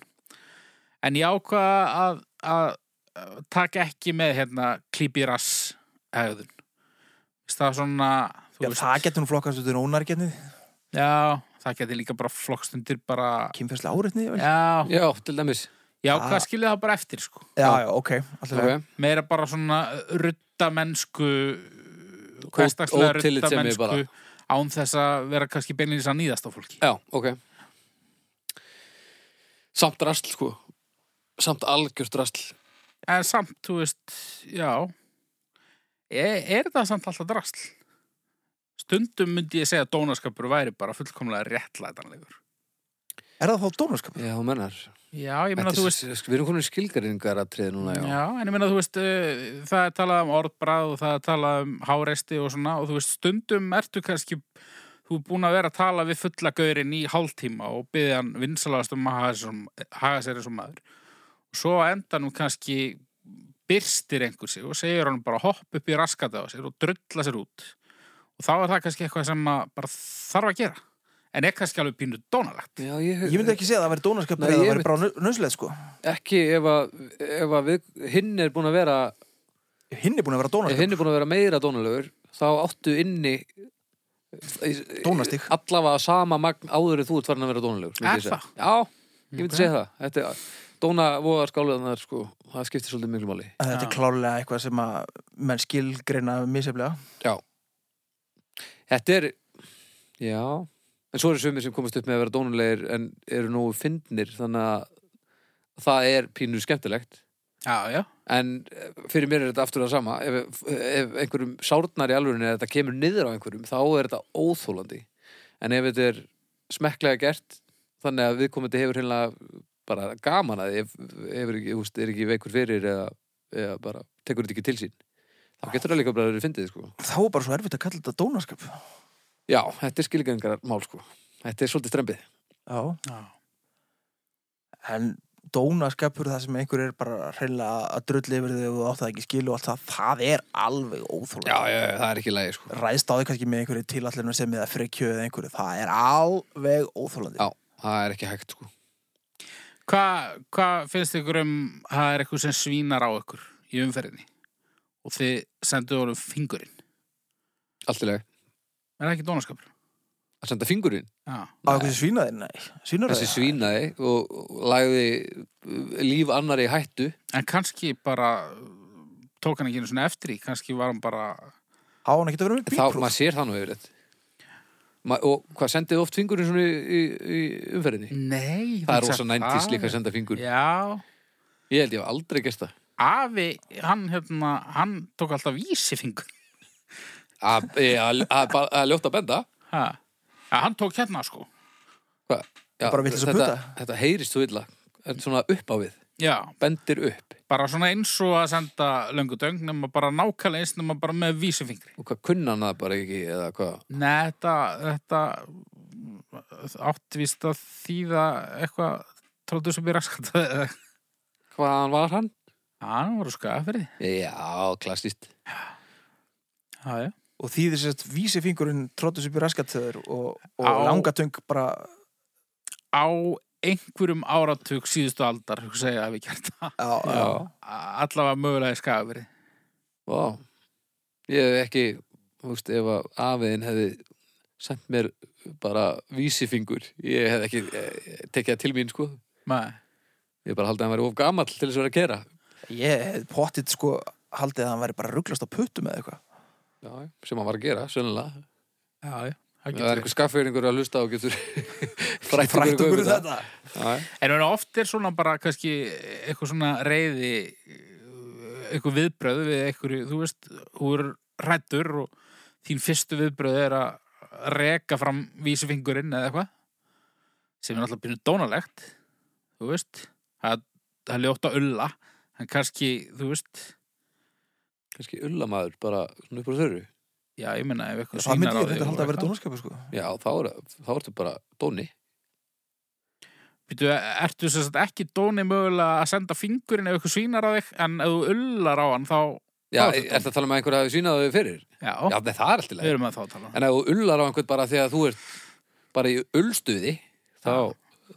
Speaker 3: En ég ákvaða að, að, að taka ekki með hérna klípi rass hegðun. Veist Það er svona, þú
Speaker 1: Já, það getur nú flokkast út í ónargetni
Speaker 3: já, það geti líka bara flokkstundir bara,
Speaker 1: kynfærslega áreitni vel?
Speaker 3: já,
Speaker 2: Já, til dæmis.
Speaker 3: ég ákvaða
Speaker 1: Það-
Speaker 3: að skilja það bara eftir sko.
Speaker 1: já, já, ok, alltaf
Speaker 2: Ok.
Speaker 3: Meira bara svona ruttamennsku, hverstakslega
Speaker 2: ótillitssemi
Speaker 3: ruttamennsku án þess að vera kannski beinlýnis að nýðast á fólki.
Speaker 2: Já, ok. Samt rastl, sko. Samt algjört rastl.
Speaker 3: En samt, þú veist, já Er, er það samt alltaf drasl? Stundum myndi ég segja að dónaskapur væri bara fullkomlega réttlætanlegur
Speaker 1: Er það þá dónaskapur?
Speaker 2: Já, þú mennar.
Speaker 3: Já, ég meina
Speaker 2: Þetta
Speaker 3: þú
Speaker 2: er- sko,
Speaker 3: veist
Speaker 2: Við erum komin skilgaringar að treða núna, já.
Speaker 3: Já, en ég meina þú veist uh, það er talað um orðbrað og það er talað um háresti og svona og þú veist stundum ertu kannski þú er búin að vera að tala við fulla gaurin í hálftíma og byggði hann vinsalagast um að haga sér sem- haga sér eins og maður og svo á endanum kannski byrstir einhver sig og segir hann bara hopp upp í raskata á sér og drulla sér út og þá er það kannski eitthvað sem að bara þarf að gera en er kannski alveg pínu dónalegt
Speaker 2: Já, ég,
Speaker 1: Ég myndi ekki segja að það væri dónaskapur
Speaker 2: Nei,
Speaker 1: eða það
Speaker 2: ég
Speaker 1: væri
Speaker 2: myndi-
Speaker 1: bara nöðslega sko
Speaker 2: ekki ef að, ef að við, hinn er búin að vera
Speaker 1: Hinn er búin að vera
Speaker 2: ef
Speaker 1: dónaskapur
Speaker 2: hinn er búin að vera meira dónalegur þá áttu inni
Speaker 1: Dónastig.
Speaker 2: allavega sama magn áður en þú ert farin að vera dónalegur myndi
Speaker 3: Er
Speaker 2: ég segja.
Speaker 3: það?
Speaker 2: Já, ég myndi segja það Þetta, er- Dóna voða skáluðanar sko, það skiptir svolítið miklu máli
Speaker 1: En Þetta er klárlega eitthvað sem að menn skilgreina misjaflega
Speaker 2: Já Þetta er, já en svo eru sumir sem komast upp með að vera dónulegir en eru nógu fyndnir þannig að það er pínu skemmtilegt
Speaker 3: Já, já,
Speaker 2: en eh, fyrir mér er þetta aftur það sama ef, ef einhverjum sárnar í alvörinu eða þetta kemur niður á einhverjum þá er þetta óþólandi en ef þetta er smekklega gert þannig að viðkomandi hefur hérna bara gaman að því ef, hefur ekki, úst, er ekki veikur fyrir eða, eða bara tekur þetta ekki til sín þá getur það líka bara verið fyndið sko.
Speaker 1: Þá er bara svo erfitt að kalla þetta dónaskap.
Speaker 2: já, þetta er skilgengar mál sko. þetta er svolítið strempið
Speaker 1: Já.
Speaker 3: Já.
Speaker 1: En dónaskapur það sem einhver er bara hreinlega að drulli yfir þig og þú átt það ekki skil og allt það, það er alveg óþólandi.
Speaker 2: já, já, já, það er ekki lægi sko.
Speaker 1: ræðst á því kannski með einhverju tilallinu sem eða frikju eða einhverju, það er alveg óþólandi.
Speaker 2: já, það er ekki hægt sko.
Speaker 3: Hvað hva finnst ykkur um að það er eitthvað sem svínar á ykkur í umferðinni og þið senduðu honum fingurinn?
Speaker 2: allt í lagi
Speaker 3: Er það ekki dónaskapur?
Speaker 2: að senda fingurinn
Speaker 3: Já.
Speaker 1: Á þessi svínaðir, nei, svínaður
Speaker 2: þessi svínaði og og lagði uh, líf annar í hættu
Speaker 3: En kannski bara uh, tók hann ekki einu svona eftir í, kannski var hann bara...
Speaker 1: Há hann ekki að vera með
Speaker 2: þá,
Speaker 1: bílpróf.
Speaker 2: maður sér það nú yfir þetta og hvað sendið þið oft fingurinn svona í, í, í umferðinni
Speaker 3: Nei,
Speaker 2: það er rosa næntís líka að senda fingur
Speaker 3: Mm, Ah, Já,
Speaker 2: ég held ég hef aldrei gert það
Speaker 3: afi, hann, hérna, hann tók alltaf vísifingur.
Speaker 2: Að- eh, að- að bara- að ljóta að benda
Speaker 3: Ha. Ja, hann tók hérna, sko.
Speaker 2: Hva? Já,
Speaker 1: Bara vitleysa
Speaker 2: þetta,
Speaker 1: putta.
Speaker 2: þetta heyrist þú illa Þetta er svona upp á við,
Speaker 3: Já,
Speaker 2: bendir upp
Speaker 3: bara svona eins og að senda löngu döng, nema bara nákvæmlega eins, nema bara með vísifingri.
Speaker 2: og hvað kunna hann það bara ekki eða hvað
Speaker 3: Nei, þetta, þetta áttvist að þýða eitthvað tróðu sem ég raskat eða-
Speaker 2: hvaðan var hann?
Speaker 3: hann voru skafrið
Speaker 2: Já, klassist
Speaker 3: já, já.
Speaker 1: og þýðir sérst vísi fingurinn tróttus upp í raskatöður og, og
Speaker 3: Á.
Speaker 1: langatöng bara
Speaker 3: á einhverjum áratug síðustu aldar segja að við gert það
Speaker 1: á, á,
Speaker 2: Já,
Speaker 3: A- allavega mögulega í skafrið
Speaker 2: vá Ég hef ekki, þú veist, ef að afiðin hefði sent mér bara vísifingur ég hef ekki eh, tekið það til mín sko ég bara haldið að hann væri of gamall til þess að vera að gera
Speaker 1: ég hef pottit sko haldið að hann væri bara rugglast á puttum eða eitthvað
Speaker 2: Já, sem hann var að gera, sönnilega
Speaker 3: já, já,
Speaker 2: Það
Speaker 3: það
Speaker 2: er
Speaker 3: getur verið.
Speaker 2: eitthvað skaffeyringur að hlusta og getur frætt
Speaker 1: frætt okkur um
Speaker 2: um
Speaker 1: þetta
Speaker 2: Já,
Speaker 3: en meina, oft er svona bara kannski eitthvað svona reyði eitthvað viðbröð við eitthvað, þú veist, þú er rættur og þín fyrstu viðbröð er að reka fram vísifingurinn eða eitthvað sem er náttúrulega býrnum dónalegt þú veist það, það er ljótt að ulla en kannski, þú veist
Speaker 2: kannski ullamaður bara svona upp úr þörru
Speaker 3: já, ég meina ef eitthvað
Speaker 1: það myndi
Speaker 3: svínar
Speaker 1: ég
Speaker 3: á þig
Speaker 1: reynda
Speaker 3: og
Speaker 1: halda að vera
Speaker 3: eitthvað.
Speaker 1: dónaskapu sko
Speaker 2: Já, þá, er, þá ertu bara dóni
Speaker 3: Býtu, ertu sem sagt ekki dóni mögulega að senda fingurinn ef eitthvað svínar á þig en ef þú ullar á hann þá
Speaker 2: Já,
Speaker 3: Þá ertu
Speaker 2: er þetta að tala með einhverja að við svínaðu þau fyrir?
Speaker 3: já,
Speaker 2: Já, nei, það er alltaf
Speaker 3: við
Speaker 2: leið
Speaker 3: erum að þá að tala um
Speaker 2: En ef þú ullar á einhvern bara þegar þú ert bara í ullstuði þá,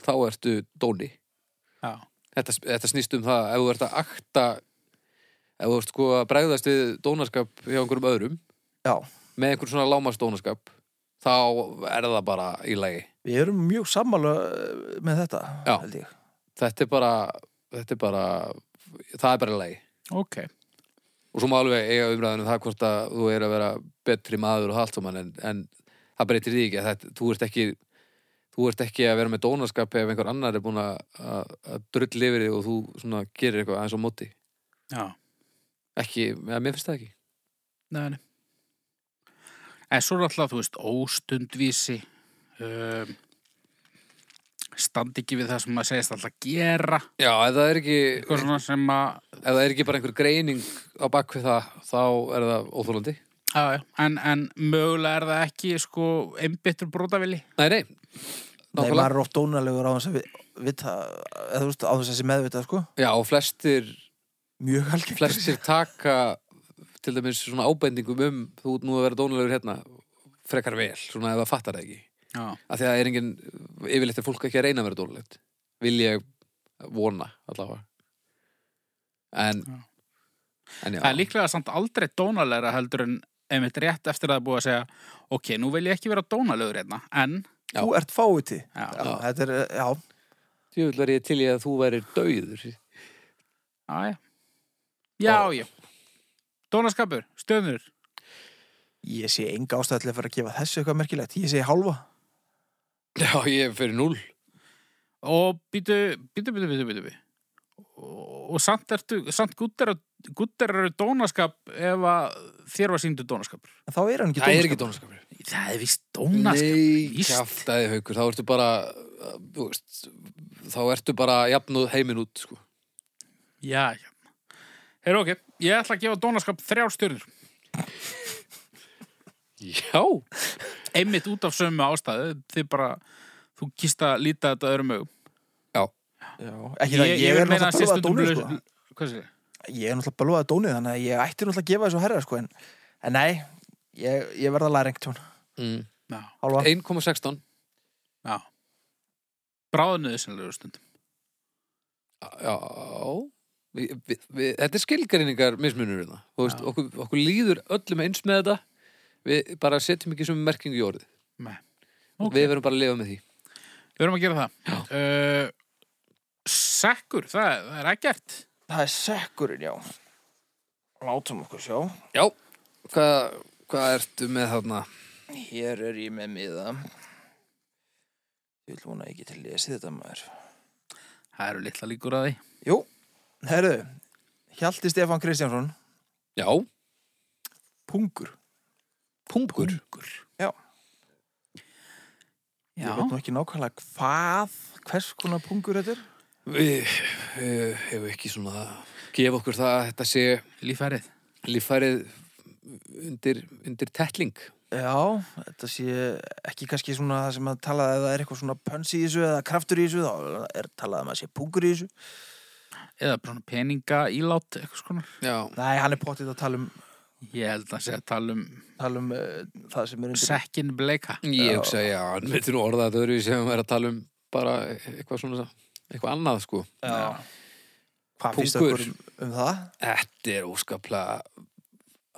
Speaker 2: þá ertu dóni
Speaker 3: já,
Speaker 2: þetta, þetta snýst um það ef þú ert að akta ef þú ert sko að bregðast við dónaskap hjá einhverjum öðrum
Speaker 1: já,
Speaker 2: með einhver svona lámast dónaskap þá er það bara í lagi
Speaker 1: við erum mjög sammála eh, með þetta
Speaker 2: Já.
Speaker 1: held ég
Speaker 2: Þetta er bara, þetta er bara það er bara í lagi
Speaker 3: ok
Speaker 2: og svo má alveg eiga umræðinu það hvort að þú er að vera betri maður og allt saman en, en það breytir því ekki að þetta, þú ert ekki þú ert ekki að vera með dónaskap ef einhver annar er búin að, að, að drull yfir þig og þú svona gerir eitthvað aðeins á móti
Speaker 3: já,
Speaker 2: ekki, ja, mér finnst það ekki
Speaker 3: Nei, nei. En svo er alltaf, þú veist, óstundvísi, um, standi ekki við það sem maður segist alltaf gera,
Speaker 2: já, ef það er ekki,
Speaker 3: eitthvað svona sem að,
Speaker 2: ef það er ekki bara einhver greining á bakvið það, þá er það óþólandi
Speaker 3: já, já, en, en mögulega er það ekki, sko, einbyttur brótavili.
Speaker 2: nei, nei,
Speaker 1: Nei,
Speaker 2: nákvæmlega
Speaker 1: maður er oft dónalegur á þess að við, við það, eða þú veist, á þess að sé meðvitað, sko.
Speaker 2: já, og flestir
Speaker 1: Mjög algengt.
Speaker 2: flestir taka til dæmis svona ábendingum um þú út nú að vera dónulegur hérna frekar vel, svona ef það fattar það ekki
Speaker 3: Já,
Speaker 2: að því að það er engin, yfirleitt er fólk ekki að reyna að vera dónulegt vil ég vona allavega en
Speaker 3: Já.
Speaker 2: en já,
Speaker 3: það er líklega samt aldrei dónalegra heldur en einmitt rétt eftir að það er búið að segja, ok, nú vil ég ekki vera dónalegur hérna, en,
Speaker 2: Já.
Speaker 1: Þú ert fáiði.
Speaker 3: já,
Speaker 1: Já, þetta er, eh, já,
Speaker 2: djöfull var ég til í að þú værir dauður
Speaker 3: já, já, já,
Speaker 2: Ó.
Speaker 3: já, dónaskapur, stöðnur,
Speaker 1: ég sé enga ástæði til að fara að gefa þessu eitthvað merkilegt. Ég sé hálfa.
Speaker 2: já, ég fyrir núl
Speaker 3: og býtu, býtu, býtu, býtu, býtu, býtu. Og, og samt, ertu, samt gúttar gúttar eru dónaskap ef að þér var síndu dónaskapur
Speaker 1: En þá er hann ekki sko.
Speaker 2: það er
Speaker 1: dónaskapur.
Speaker 2: ekki dónaskapur
Speaker 3: það er víst dónaskap
Speaker 2: Nei,
Speaker 3: víst.
Speaker 2: kjaftaði haukur, þá ertu bara uh, þú veist, þá ertu bara jafnúð heimin út, sko
Speaker 3: Já, já. Heyrðu, ok, ég ætla að gefa dónaskap þrjár stjörnur.
Speaker 2: Já,
Speaker 3: Einmitt út af sömu ástæðu, þið bara, þú kýst að líta þetta öðrum augum.
Speaker 1: Já, ekki það, ég, er náttúrulega
Speaker 3: meina sé
Speaker 1: bölvað að dóni
Speaker 3: stundum
Speaker 1: sko.
Speaker 3: laus- Hvað sér?
Speaker 1: Ég er náttúrulega bölvað að dóni þannig að ég ætti náttúrulega að gefa þessu herra sko en, en nei, ég, ég verða að læra einhvern tjón
Speaker 2: mm.
Speaker 3: Já,
Speaker 1: Hálfa,
Speaker 2: 1,16
Speaker 3: já. Bráðnuðu sinnlega stundum.
Speaker 2: Já vi, vi, vi, Þetta er skilgreiningar mismunur hérna. Þú veist,
Speaker 3: Já.
Speaker 2: okkur, okkur líður öllum eins með þetta Við bara setjum ekki sem merkingu í orðið
Speaker 3: Nei.
Speaker 2: Við verum bara að lifa með því
Speaker 3: Við erum að gera það. Uh, sekkur, það, það er ekkert.
Speaker 1: það er sekkurinn, já Látum okkur sjá
Speaker 2: Já, hvað, hvað ertu með þarna?
Speaker 1: Hér er ég með miða Ég vil vona ekki til lesið þetta maður
Speaker 3: Það eru litla líkur að því.
Speaker 1: Jú, herðu Hjalti Stefán Kristjánsson,
Speaker 2: Já,
Speaker 1: pungur
Speaker 2: pungur
Speaker 3: Ungur.
Speaker 1: Já.
Speaker 3: Já.
Speaker 1: Ég veit nú ekki nákvæmlega hvað Hvers konar pungur þetta er
Speaker 2: Við eh, hefum ekki svona gefa okkur það að þetta sé
Speaker 3: Lífærið.
Speaker 2: líffærið undir, undir tettling
Speaker 1: Já, þetta sé ekki kannski svona það sem að talaði að það er eitthvað svona pönns í þessu eða kraftur í þessu þá er talað um að sé pungur í þessu
Speaker 3: Eða bara svona peninga, ílát, eitthvað skona.
Speaker 2: Já,
Speaker 1: Nei, hann er pottið að tala um,
Speaker 3: Ég held að segja að tala um
Speaker 1: tala um uh, það sem er undir
Speaker 3: sekkin bleika.
Speaker 2: ég hugsa, já, hann veitir nú orða þetta öðru sem er að tala um bara eitthvað svona, eitthvað annað sko
Speaker 1: Já. Hvað finnst
Speaker 2: Pungur.
Speaker 1: okkur um, um það?
Speaker 2: Þetta er óskaplega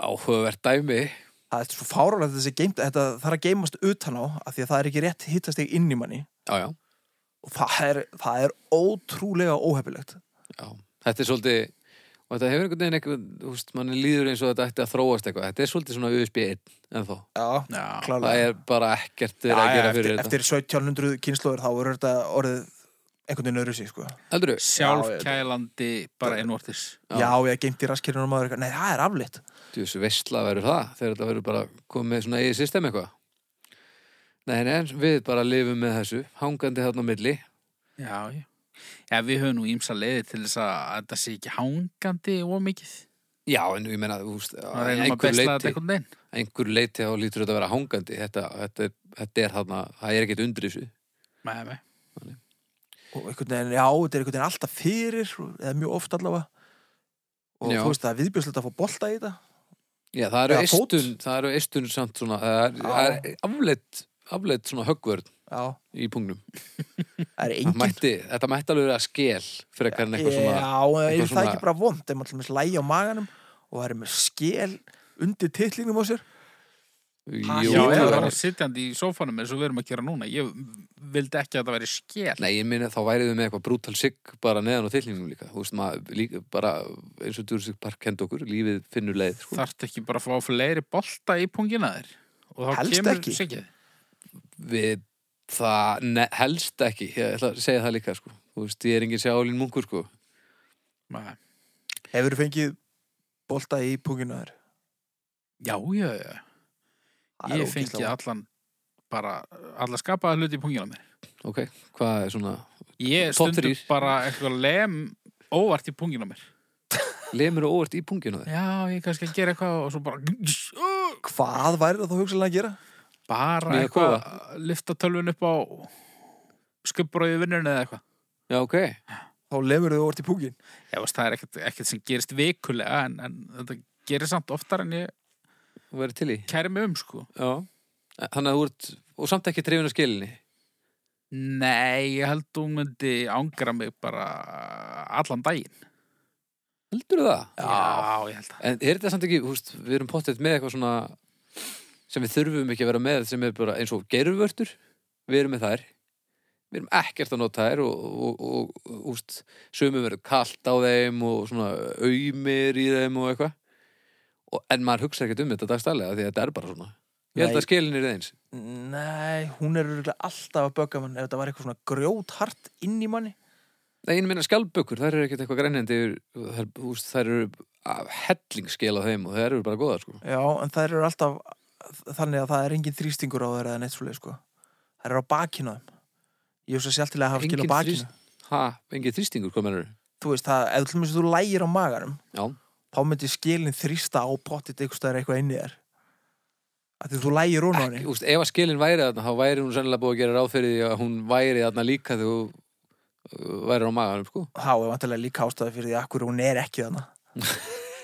Speaker 2: áhugavert dæmi
Speaker 1: Það er svo fáránlegt að þessi geimt, þetta þarf að geimast utan á af því að það er ekki rétt hittast inn í manni
Speaker 2: Já, já,
Speaker 1: og það er, það er ótrúlega óhefilegt
Speaker 2: já, þetta er svolítið og þetta hefur einhvern veginn eitthvað, þú veist, manni líður eins og þetta ætti að þróast eitthvað, þetta er svolítið svona USB 1 en þó,
Speaker 1: Já,
Speaker 3: Já.
Speaker 2: það
Speaker 1: klálega
Speaker 2: er bara ekkert
Speaker 1: Já,
Speaker 2: verið að
Speaker 1: já,
Speaker 2: gera
Speaker 1: eftir,
Speaker 2: fyrir þetta
Speaker 1: eftir 1700 kynnslóður þá er þetta orðið einhvern veginn öðru sig sko.
Speaker 2: Heldur,
Speaker 3: Sjálfkælandi bara einvortis.
Speaker 2: Já.
Speaker 1: Já, ég geimt í raskirinn og maður eitthvað. Nei, það er aflitt
Speaker 2: Þú veist, veistla verður það þegar þetta verður bara komið með svona eigið system eitthvað. Nei, nei, við bara lifum með þessu, hangandi þarna á milli.
Speaker 3: Já, já. Já, við höfum nú ímsa leiði til þess að að þetta sé ekki hangandi og mikið.
Speaker 2: Já, en ég meina, þú veist,
Speaker 3: Það reynum að
Speaker 2: einhver
Speaker 3: besta þetta
Speaker 2: leiti,
Speaker 3: einhvern veginn.
Speaker 2: einhver leiti þá lítur þetta að vera hangandi. Þetta, þetta, er- þetta er þarna, það er ekkert undir þessu.
Speaker 3: Nei, nei.
Speaker 1: og einhvern veginn, já, þetta er einhvern veginn alltaf fyrir eða mjög oft allavega og
Speaker 2: Já.
Speaker 1: þú veist það er viðbjörslega að fá bolta í þetta
Speaker 2: Já, það eru
Speaker 1: Eða fót.
Speaker 2: eistun, það eru eistun samt svona, það er,
Speaker 1: Já.
Speaker 2: það er afleitt, afleitt svona höggvörn
Speaker 1: Já,
Speaker 2: í pungnum.
Speaker 1: það er
Speaker 2: Það
Speaker 1: engin
Speaker 2: Mætti, þetta mætti alveg að skel frekar en eitthvað svona.
Speaker 1: Já, er
Speaker 2: eitthvað
Speaker 1: það
Speaker 2: svona-
Speaker 1: ekki bara vond ef maður til dæmis lægi á maganum og það er með skel undir titlingum á sér
Speaker 2: Jú,
Speaker 3: Já,
Speaker 1: ég
Speaker 3: eða
Speaker 1: var-
Speaker 3: bara sitjandi í sófanum eins og við erum að gera núna. Ég vildi ekki að þetta væri skél.
Speaker 2: Nei, ég minna, þá værið við með eitthvað brútal sigg bara neðan á tilningum líka, þú veist maður líka, bara eins og Jurassic Park kenda okkur lífið finnur leið, sko.
Speaker 3: Þarftu ekki bara að fá fleiri bolta í pungina þér? Og þá
Speaker 1: Helst
Speaker 3: kemur
Speaker 1: ekki.
Speaker 3: sikkið.
Speaker 2: við það ne, helst ekki ég ætla að segja það líka, sko þú veist, ég er engin sjálín munkur, sko
Speaker 3: Nei.
Speaker 1: Hefur þú fengið bolta í punginu þér?
Speaker 3: Já, já, já.
Speaker 1: Það er
Speaker 3: Ég fengi
Speaker 1: ógeðslega vont.
Speaker 3: allan bara, alla skapaða hluti í pungina mér.
Speaker 2: ok, hvað er svona
Speaker 3: Ég
Speaker 2: Topp
Speaker 3: stundum
Speaker 2: þrír.
Speaker 3: bara eitthvað lem óvart í pungina mér.
Speaker 2: lemur og óvart í punginu þér
Speaker 3: Já, ég kannski að gera eitthvað og svo bara...
Speaker 1: Hvað væri það þá hugsalega að gera?
Speaker 3: bara
Speaker 2: Smíða
Speaker 3: eitthvað að lyfta tölvun upp á skubbröðu vinnunni eða eitthvað
Speaker 2: já, ok,
Speaker 1: Þá lemur þau orðið í pungin
Speaker 3: ég veist það er ekkert, ekkert sem gerist vikulega en, en þetta gerir samt oftar en ég
Speaker 2: þú verður til í
Speaker 3: kæri mig um sko
Speaker 2: já, þannig að þú ert og samt ekki trefin að skilinni
Speaker 3: nei, ég held hún myndi ángra mig bara allan daginn
Speaker 2: heldur það?
Speaker 3: já, ég held það
Speaker 2: En er þetta samt ekki, þú veist, við erum pottið með eitthvað svona sem við þurfum ekki að vera með sem er bara eins og gerurvörtur við erum með þær við erum ekkert að nota þær og, og, og, og úst, sömum verður kalt á þeim og svona auðmir í þeim og eitthvað og, en maður hugsa ekkert um þetta dagstælega því að þetta er bara svona ég held
Speaker 1: Nei.
Speaker 2: að skilin er eins
Speaker 1: Nei, hún er örugglega alltaf að bögga mann ef þetta var eitthvað svona grjóthart inn í manni
Speaker 2: Nei, ég minna skjálbökur, þær eru ekkert eitthvað grænjandi þær, úst, þær eru hellingskel á þeim og þær eru bara góðar sko
Speaker 1: Já, en þær eru alltaf þannig að það er engin þrýstingur á þeirra eða neitt svoleið sko. Það er á bakinu á þeim. Ég hef svo sjálftilega að hafa skil á
Speaker 2: Engin
Speaker 1: bakinu.
Speaker 2: þrýst- Ha, engin þrýstingur, hvað mennur?
Speaker 1: Þú veist, það, ef þú, þú lægir á maganum,
Speaker 2: Já,
Speaker 1: þá myndi skilin þrýsta á pottit eitthvað stæðar eitthvað inn í þér. Af því þú lægir hún á henni.
Speaker 2: úst, ef að skilin væri þarna, þá væri hún sennilega búið að gera ráð fyrir því að hún væri þarna líka þegar hún uh, væri á maganum, sko.
Speaker 1: Þá er vantilega líka ástæði fyrir því að hverju hún er ekki þannig.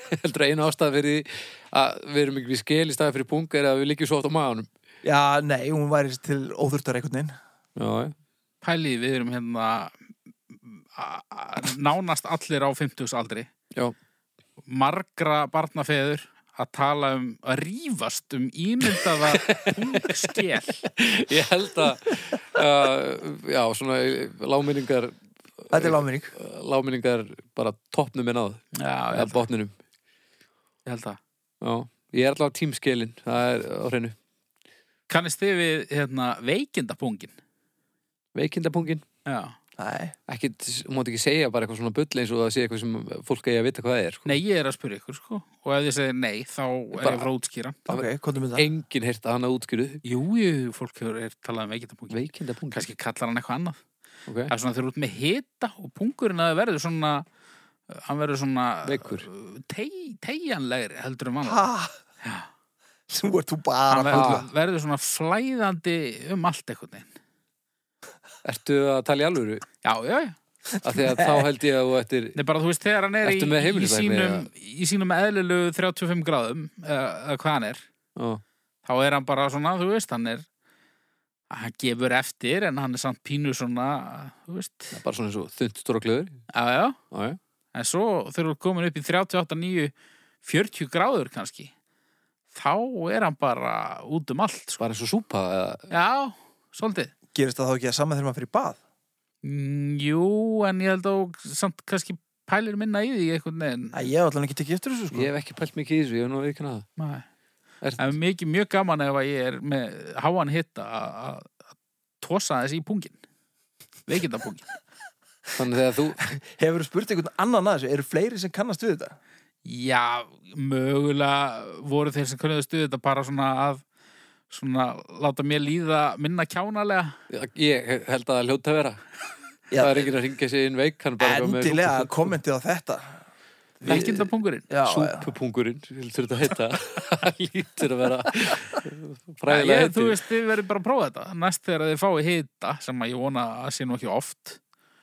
Speaker 2: Heldur að einu ástæða fyrir því að við erum ekki við skil í staði fyrir punga er að við líkjum svo oft á maganum.
Speaker 1: Já, nei, hún væri til óþurftar einhvern veginn.
Speaker 2: Já, já.
Speaker 3: Pælið, við erum hérna a- a- nánast allir á 50 aldri.
Speaker 2: Já.
Speaker 3: Margra barnafeður að tala um, að rífast um ímyndaða pungskell.
Speaker 2: Ég held að, uh, já, svona láminningar,
Speaker 1: Þetta er láminning.
Speaker 2: láminningar bara toppnum en áð,
Speaker 3: Já, ég
Speaker 2: eða
Speaker 3: held,
Speaker 2: botninum.
Speaker 3: ég held það.
Speaker 2: Já, ég er allavega tímskilin, það er á hreinu.
Speaker 3: Kannist þið við hérna, veikindapungin?
Speaker 2: Veikindapungin,
Speaker 3: Já.
Speaker 1: Nei,
Speaker 2: ekki, hún mátt ekki segja bara eitthvað svona bull eins og það sé eitthvað sem fólk eigi að vita hvað það er. Sko.
Speaker 3: Nei, ég er að spyrja ykkur, sko. Og ef þið segir nei, þá er
Speaker 2: Bara-
Speaker 3: ég frá útskýra.
Speaker 2: Það
Speaker 1: ok, komdu með það.
Speaker 2: Engin heyrt að hana útskýruð.
Speaker 3: Jú, jú, fólk hefur er talað um veikindapungin.
Speaker 2: Veikindapungin,
Speaker 3: Kannski kallar hann eitthvað annað.
Speaker 2: ok.
Speaker 3: Það er svona þegar þú ert með hita og pungurinn að það verður svona, hann verður svona...
Speaker 2: Veikur.
Speaker 3: Teg- Tegjanlegri heldur um annað.
Speaker 1: Ha? Þú ert þú bara
Speaker 3: Hann
Speaker 1: fulla.
Speaker 3: verður, verður svona flæðandi um allt eitthvað.
Speaker 2: Ertu að tala í alvöru?
Speaker 3: Já, já, já.
Speaker 2: Af því að þá held ég að þú eftir...
Speaker 3: Nei, bara þú veist, þegar hann er í,
Speaker 2: Ertu með
Speaker 3: í,
Speaker 2: heimilislækni,
Speaker 3: sínum, í sínum eðlilegu 35 gráðum, eða eða hvað hann er,
Speaker 2: Ó,
Speaker 3: þá er hann bara svona, þú veist, hann er, hann gefur eftir, en hann er samt pínu svona, þú veist,
Speaker 2: það er bara svona eins og þund stórklöður.
Speaker 3: já, já,
Speaker 2: Já, já.
Speaker 3: en svo þegar þú er komin upp í 38, 9, 40 gráður kannski, þá er hann bara út um allt, sko.
Speaker 2: Bara eins og súpa eða...
Speaker 3: Já, svolítið.
Speaker 1: Gerist það þá ekki að sama þegar maður fyrir bað?
Speaker 3: Mm, Jú, en ég held að þú samt kannski pælir minna í því einhvern veginn.
Speaker 1: Æ, ég hef allan ekki tekið eftir þessu, sko.
Speaker 2: Ég hef ekki pælt mikið í þessu, ég hef nú ekki kannað
Speaker 3: Nei.
Speaker 2: Ert-
Speaker 3: Það er mikið mjög gaman ef að ég er með háan hitta að að tosa þess í pungin. Veikindapungin.
Speaker 2: það. Þannig þegar þú...
Speaker 1: Hefur spurt einhvern annan að þessu? Eru fleiri sem kannast við þetta?
Speaker 3: Já, mögulega voru þeir sem kunniðu stuðið þetta bara svona að svona láta mér líða minna kjánalega.
Speaker 2: Ég held að það hljóta að vera.
Speaker 1: Já.
Speaker 2: Það er enginn að ringja sig inn veik, hann er bara eitthvað
Speaker 1: Endilega kommentið á þetta.
Speaker 3: Veikindapungurinn.
Speaker 1: Já, já.
Speaker 2: Súpupungurinn, viltur þetta heita Það lítur að vera
Speaker 3: Ég,
Speaker 2: fræðilega
Speaker 3: þú
Speaker 2: heiti
Speaker 3: veist, þið verður bara að prófa þetta. Næst þegar þið fáið hita, sem að ég vona að sé nú ekki oft.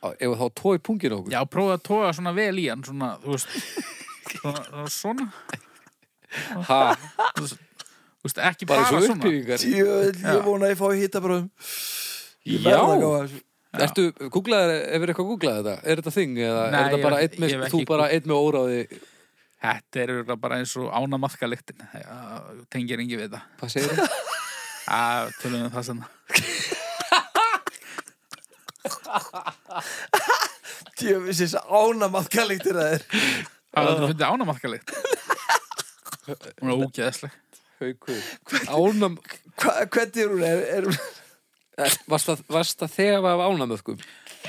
Speaker 2: Á, Ef þá tói pungin okkur
Speaker 3: Já, prófa að toga svona vel í hann, svona, þú veist, svona, svona,
Speaker 2: ha,
Speaker 3: þú veist, ekki
Speaker 2: Bara
Speaker 3: bara,
Speaker 2: svo
Speaker 3: svona.
Speaker 2: uppbyggingar
Speaker 1: Djöð, ég vona að ég fái hitta bara um. Ég verð að gá
Speaker 2: Já,
Speaker 1: að þessu.
Speaker 2: ertu, googlaðir, ef er eitthvað googlað þetta Er þetta þing eða
Speaker 3: Nei,
Speaker 2: er
Speaker 3: ég
Speaker 2: þetta bara
Speaker 3: hef-
Speaker 2: einn með
Speaker 3: ég hef
Speaker 2: Þú
Speaker 3: ekki
Speaker 2: bara einn með óráði,
Speaker 3: Þetta er örugglega bara eins og ána maðkalyktin. Tengir engi við það.
Speaker 2: hvað segir það?
Speaker 3: Já, tölum við um það sem
Speaker 1: Djöð, þessi ánamað kallíktir það er.
Speaker 3: Það er fundið ána maðkalykt. Hún er ógeðsleg.
Speaker 2: Haukur, ánam
Speaker 1: Hva, hvernig er hún? Er, er,
Speaker 2: er- Varst það- varst það þegar af ánamöðkum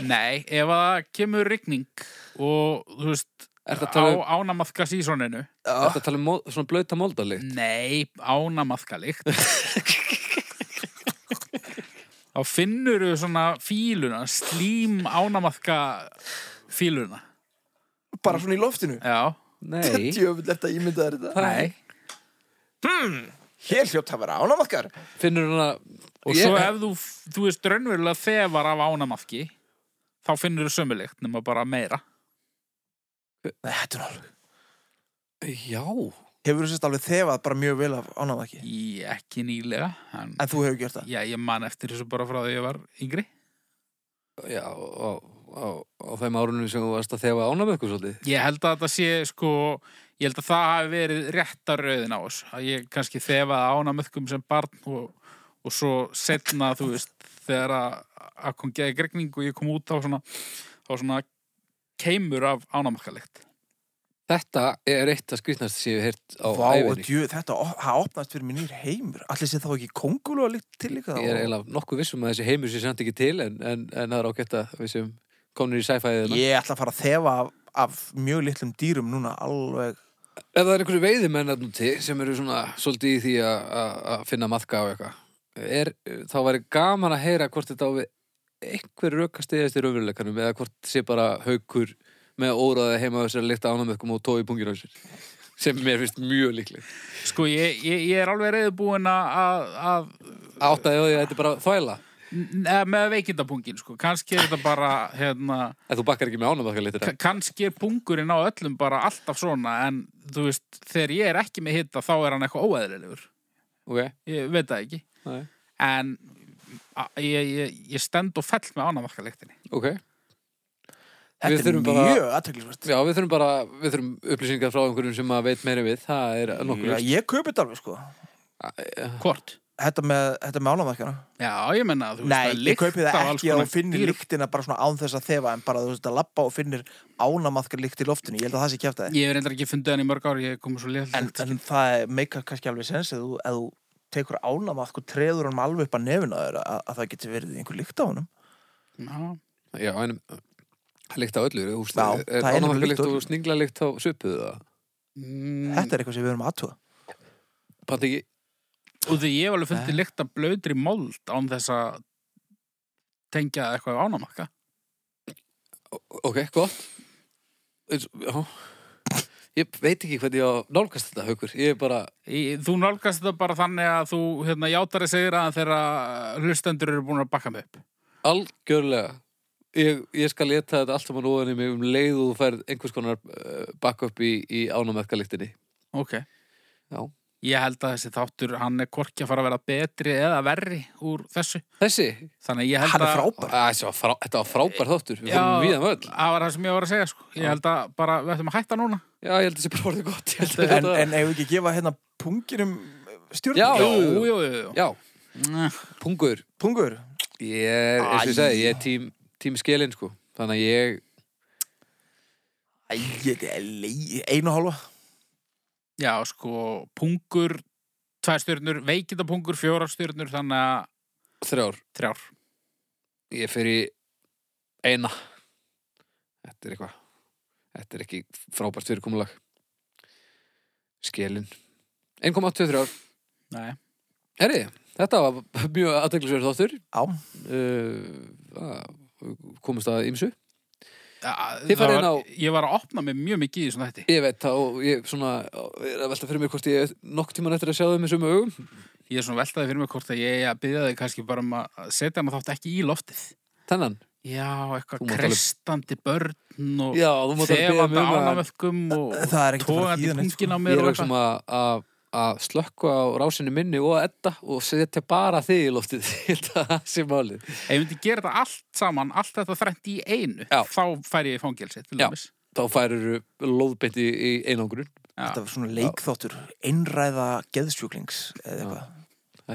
Speaker 3: Nei, ef að það kemur rigning og, þú veist,
Speaker 2: Er það
Speaker 3: á
Speaker 2: talað um,
Speaker 3: ána maðkasísoninu.
Speaker 2: er það tala um mó- svona blöta moldalikt?
Speaker 3: Nei, ána maðkalykt. Þá finnur þú svona fíluna, slím ána maðka fíluna.
Speaker 1: bara svona í loftinu?
Speaker 3: Já,
Speaker 2: Nei,
Speaker 1: Djöð, þetta ímyndaður þetta.
Speaker 3: nei.
Speaker 1: Hér hljótt að vera ánamaðkar.
Speaker 2: finnur hana
Speaker 3: Og
Speaker 2: Ég-
Speaker 3: svo ef þú, þú veist raunverulega þefar af ánamafki þá finnur þú sömulikt nema bara meira.
Speaker 1: Nei, þetta er alveg.
Speaker 2: Já,
Speaker 1: Hefur þú sérst alveg þefað bara mjög vel af ánamaðki?
Speaker 3: Í ekki nýlega. En,
Speaker 1: En þú hefur gert það?
Speaker 3: já, ég man eftir þessu bara frá því ég var yngri.
Speaker 2: já á, á, á þeim árunum sem þú varst að þefa ánamöðkum svolítið
Speaker 3: Ég held að þetta sé sko, ég held að það hafi verið réttaröðin á þessu. Að ég kannski þefaði ánamöðkum sem barn og, og svo setna, þú veist, þegar að, að kom geði gregning og ég kom út á svona, á svona keimur af ánamafkalikt.
Speaker 2: Þetta er eitt að skrýtnast sem ég hef heyrt á
Speaker 1: Vá,
Speaker 2: æfinni.
Speaker 1: djú, þetta op- það opnast fyrir mér nýr heimur Allir sé þá ekki kongulú að líkt til líka
Speaker 2: Ég er eiginlega nokkuð vissum að þessi heimur sé samt ekki til en, en, en það er ágætt að við sem komnir í hérna. sci-fiðina.
Speaker 1: Ég ætla að fara að þefa af, af mjög litlum dýrum núna alveg
Speaker 2: ef það er einhverju veiðimenn að núti sem eru svona svolítið í því að- að að finna maðka á eitthvað er, þá væri gaman að heyra hvort þetta á við einhver rökkastiðast í raunveruleikanum eða hvort sé bara haukur með óraði heima á þessari líkta ánamökkum og tói pungir á sér sem mér finnst mjög líkleg
Speaker 3: Sko, ég, ég, ég er alveg reyðbúin að, að
Speaker 2: áttaði á því að þetta er bara þvæla
Speaker 3: neða, með veikindapungin, sko. Kanski er þetta bara, hérna,
Speaker 2: en þú bakkar ekki með ánamökka lítra
Speaker 3: ka- kannski er pungurinn á öllum bara alltaf svona, en þú veist, þegar ég er ekki með hitta, þá er hann eitthvað óæðilegur.
Speaker 2: ok,
Speaker 3: Ég veit það ekki.
Speaker 2: Nei.
Speaker 3: En a- ég, ég, ég stend og fell með ánamakalektinni.
Speaker 2: ok Við
Speaker 1: Þetta er
Speaker 2: þurfum bara-
Speaker 1: mjög aðtöklisvært.
Speaker 2: já, við þurfum bara, við þurfum upplýsingar frá einhverjum sem að veit meira en við, það er nokkur
Speaker 1: Já, ég kaupi þetta alveg, sko.
Speaker 3: Hvort?
Speaker 1: Þetta með, þetta með álamarkana.
Speaker 3: Já, ég menna, þú veist,
Speaker 1: Nei,
Speaker 3: er
Speaker 1: ég kaupi
Speaker 3: lykt af
Speaker 1: það
Speaker 3: alls
Speaker 1: ekki
Speaker 3: konar
Speaker 1: og finnir
Speaker 3: dýrum.
Speaker 1: lyktina bara svona án þess að þefa en bara þú veist að lappa og finnir ánamaðkar lykt í loftinu. Ég held að það sé kjæft að
Speaker 3: Ég hef reyndar ekki fundið hann í mörg ár, ég kom svo létt.
Speaker 1: En, en það er- meikar kannski alveg sens eða þú, eð þú tekur ánamaðk og treður hann alveg upp að nefina þér að, að það getur verið einhver lykt á honum.
Speaker 3: Já,
Speaker 2: Já, en það líkt á öllu þú veist,
Speaker 1: Já,
Speaker 2: er
Speaker 1: það er
Speaker 2: ánæmlega
Speaker 1: nefnilega
Speaker 2: líkt
Speaker 1: lykt á öllu.
Speaker 2: og sningla líkt á svipuðu það
Speaker 3: Mm,
Speaker 1: Þetta er eitthvað sem við erum aðtúa.
Speaker 2: Patti ekki,
Speaker 3: og því ég hef alveg
Speaker 1: Eh.
Speaker 3: fundið lykt af blöðri mold án þess að tengja það eitthvað ánamakka
Speaker 2: ok, gott Eins- Já Ég veit ekki hvernig ég á að nálgast þetta, haukur Ég er bara,
Speaker 3: þú nálgast þetta bara þannig að þú hérna, játari segir að þegar hlustendur eru búin að bakka mig upp
Speaker 2: algjörlega Ég, ég skal leta þetta allt saman ofan í mig um leið og þú færð einhvers konar uh, backup í, í ánæmlega
Speaker 3: ok
Speaker 2: Já.
Speaker 3: ég held að þessi þáttur, hann er korki að fara að vera betri eða verri úr þessu
Speaker 2: Þessi,
Speaker 3: þannig að ég held
Speaker 1: Hann er
Speaker 3: að
Speaker 1: frábær.
Speaker 2: Æ, þessi var frá, þetta var frábær þáttur Við
Speaker 3: Já.
Speaker 2: fórum við um öll
Speaker 3: það var það sem ég var að segja sko. ég held að bara, við ættum að hætta núna
Speaker 2: Já, ég held að þessi bara orðið gott Ég held að
Speaker 1: En,
Speaker 2: þetta-
Speaker 1: en ef við ekki gefa hérna punginum stjórnum.
Speaker 2: Já, jú, jú,
Speaker 3: jú, jú.
Speaker 2: Já,
Speaker 3: Mm.
Speaker 2: pungur
Speaker 1: Pungur.
Speaker 2: Ég er, eins og ég segi, ég er tím, tím skelin sko Þannig að ég,
Speaker 1: Æ, þetta er leið. Einu og hálfa.
Speaker 3: já, sko, pungur tvær stjörnur, veikindapungur fjórar stjörnur, þannig að
Speaker 2: þrjár,
Speaker 3: þrjár
Speaker 2: ég fer í eina Þetta er eitthvað Þetta er ekki frábært fyrirkomulag Skelin 1,23
Speaker 3: Nei.
Speaker 2: Herri, þetta var mjög aðteglisverð þáttur
Speaker 1: Já.
Speaker 2: uh, að- Komist að ýmsu Þið
Speaker 3: Þið
Speaker 2: farið
Speaker 3: var,
Speaker 2: inn á-
Speaker 3: Ég var að opna mig mjög mikið í þessum þætti
Speaker 2: Ég veit það og ég svona er að velta fyrir mér hvort ég nokk tíman eftir að sjá þau með sömu augum
Speaker 3: Ég er svona veltaði fyrir mig hvort að ég eigi að byggja þig kannski bara um að setja hana þátt ekki í loftið
Speaker 2: Þannan
Speaker 3: Já, eitthvað
Speaker 2: Þú mátt alveg-
Speaker 3: krestandi börn og
Speaker 2: Já, þú mátt alveg biðja mig
Speaker 3: þefandi
Speaker 2: um að-
Speaker 3: ánamöfkum og
Speaker 1: Það er ekkert að fara að
Speaker 3: tógandi
Speaker 1: þýða neitt, sko.
Speaker 3: pungin á
Speaker 2: Ég
Speaker 3: mér
Speaker 2: er
Speaker 3: og
Speaker 2: auðvitað
Speaker 3: eitthvað
Speaker 2: um að, að, að slökka á rásinni minni og edda og setja bara þig í loftið Ég held að það sé málið
Speaker 3: Ef ég myndi gera þetta allt saman, allt þetta þrænt í einu
Speaker 2: Já.
Speaker 3: þá færi ég í fangelsi til
Speaker 2: Já.
Speaker 3: dæmis.
Speaker 2: Þá færir lóðbeint í, í einangrun
Speaker 3: Já.
Speaker 1: Þetta var svona leikþáttur. Einræða geðsjúklings eða eitthvað.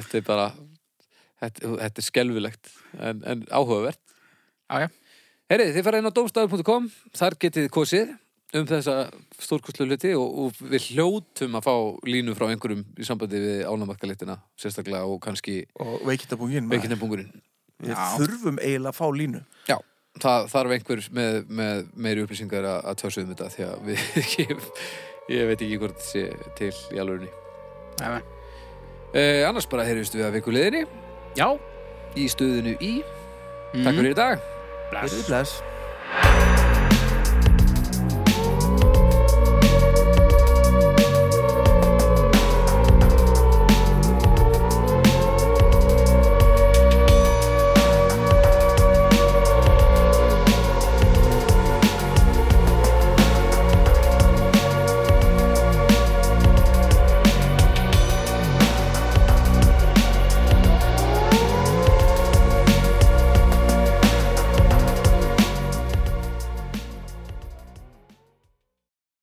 Speaker 2: Þetta er bara Þetta, þetta er skelfilegt en, en áhugavert
Speaker 3: Já, já.
Speaker 2: Herrið, þið fara inn á domstafur.com Þar getið þið kosið um þessa stórkostlu hluti og, og við hljótum að fá línu frá einhverjum í sambandi við ánamarkalitina sérstaklega og kannski
Speaker 1: Og veikindabungin.
Speaker 2: veikinnabungurinn
Speaker 1: Við
Speaker 3: Já.
Speaker 1: þurfum eiginlega að fá línu.
Speaker 2: Já, það þarf einhver með, með meiri upplýsingar að, að tjásu um þetta því að við, ég, ég veit ekki hvort sé til í alvörunni.
Speaker 3: Já, já.
Speaker 2: Eh, annars bara heyrjumst við að vikuleðinni
Speaker 3: já.
Speaker 2: í stöðinu í. Takk fyrir í dag.
Speaker 3: bless.
Speaker 1: Bless.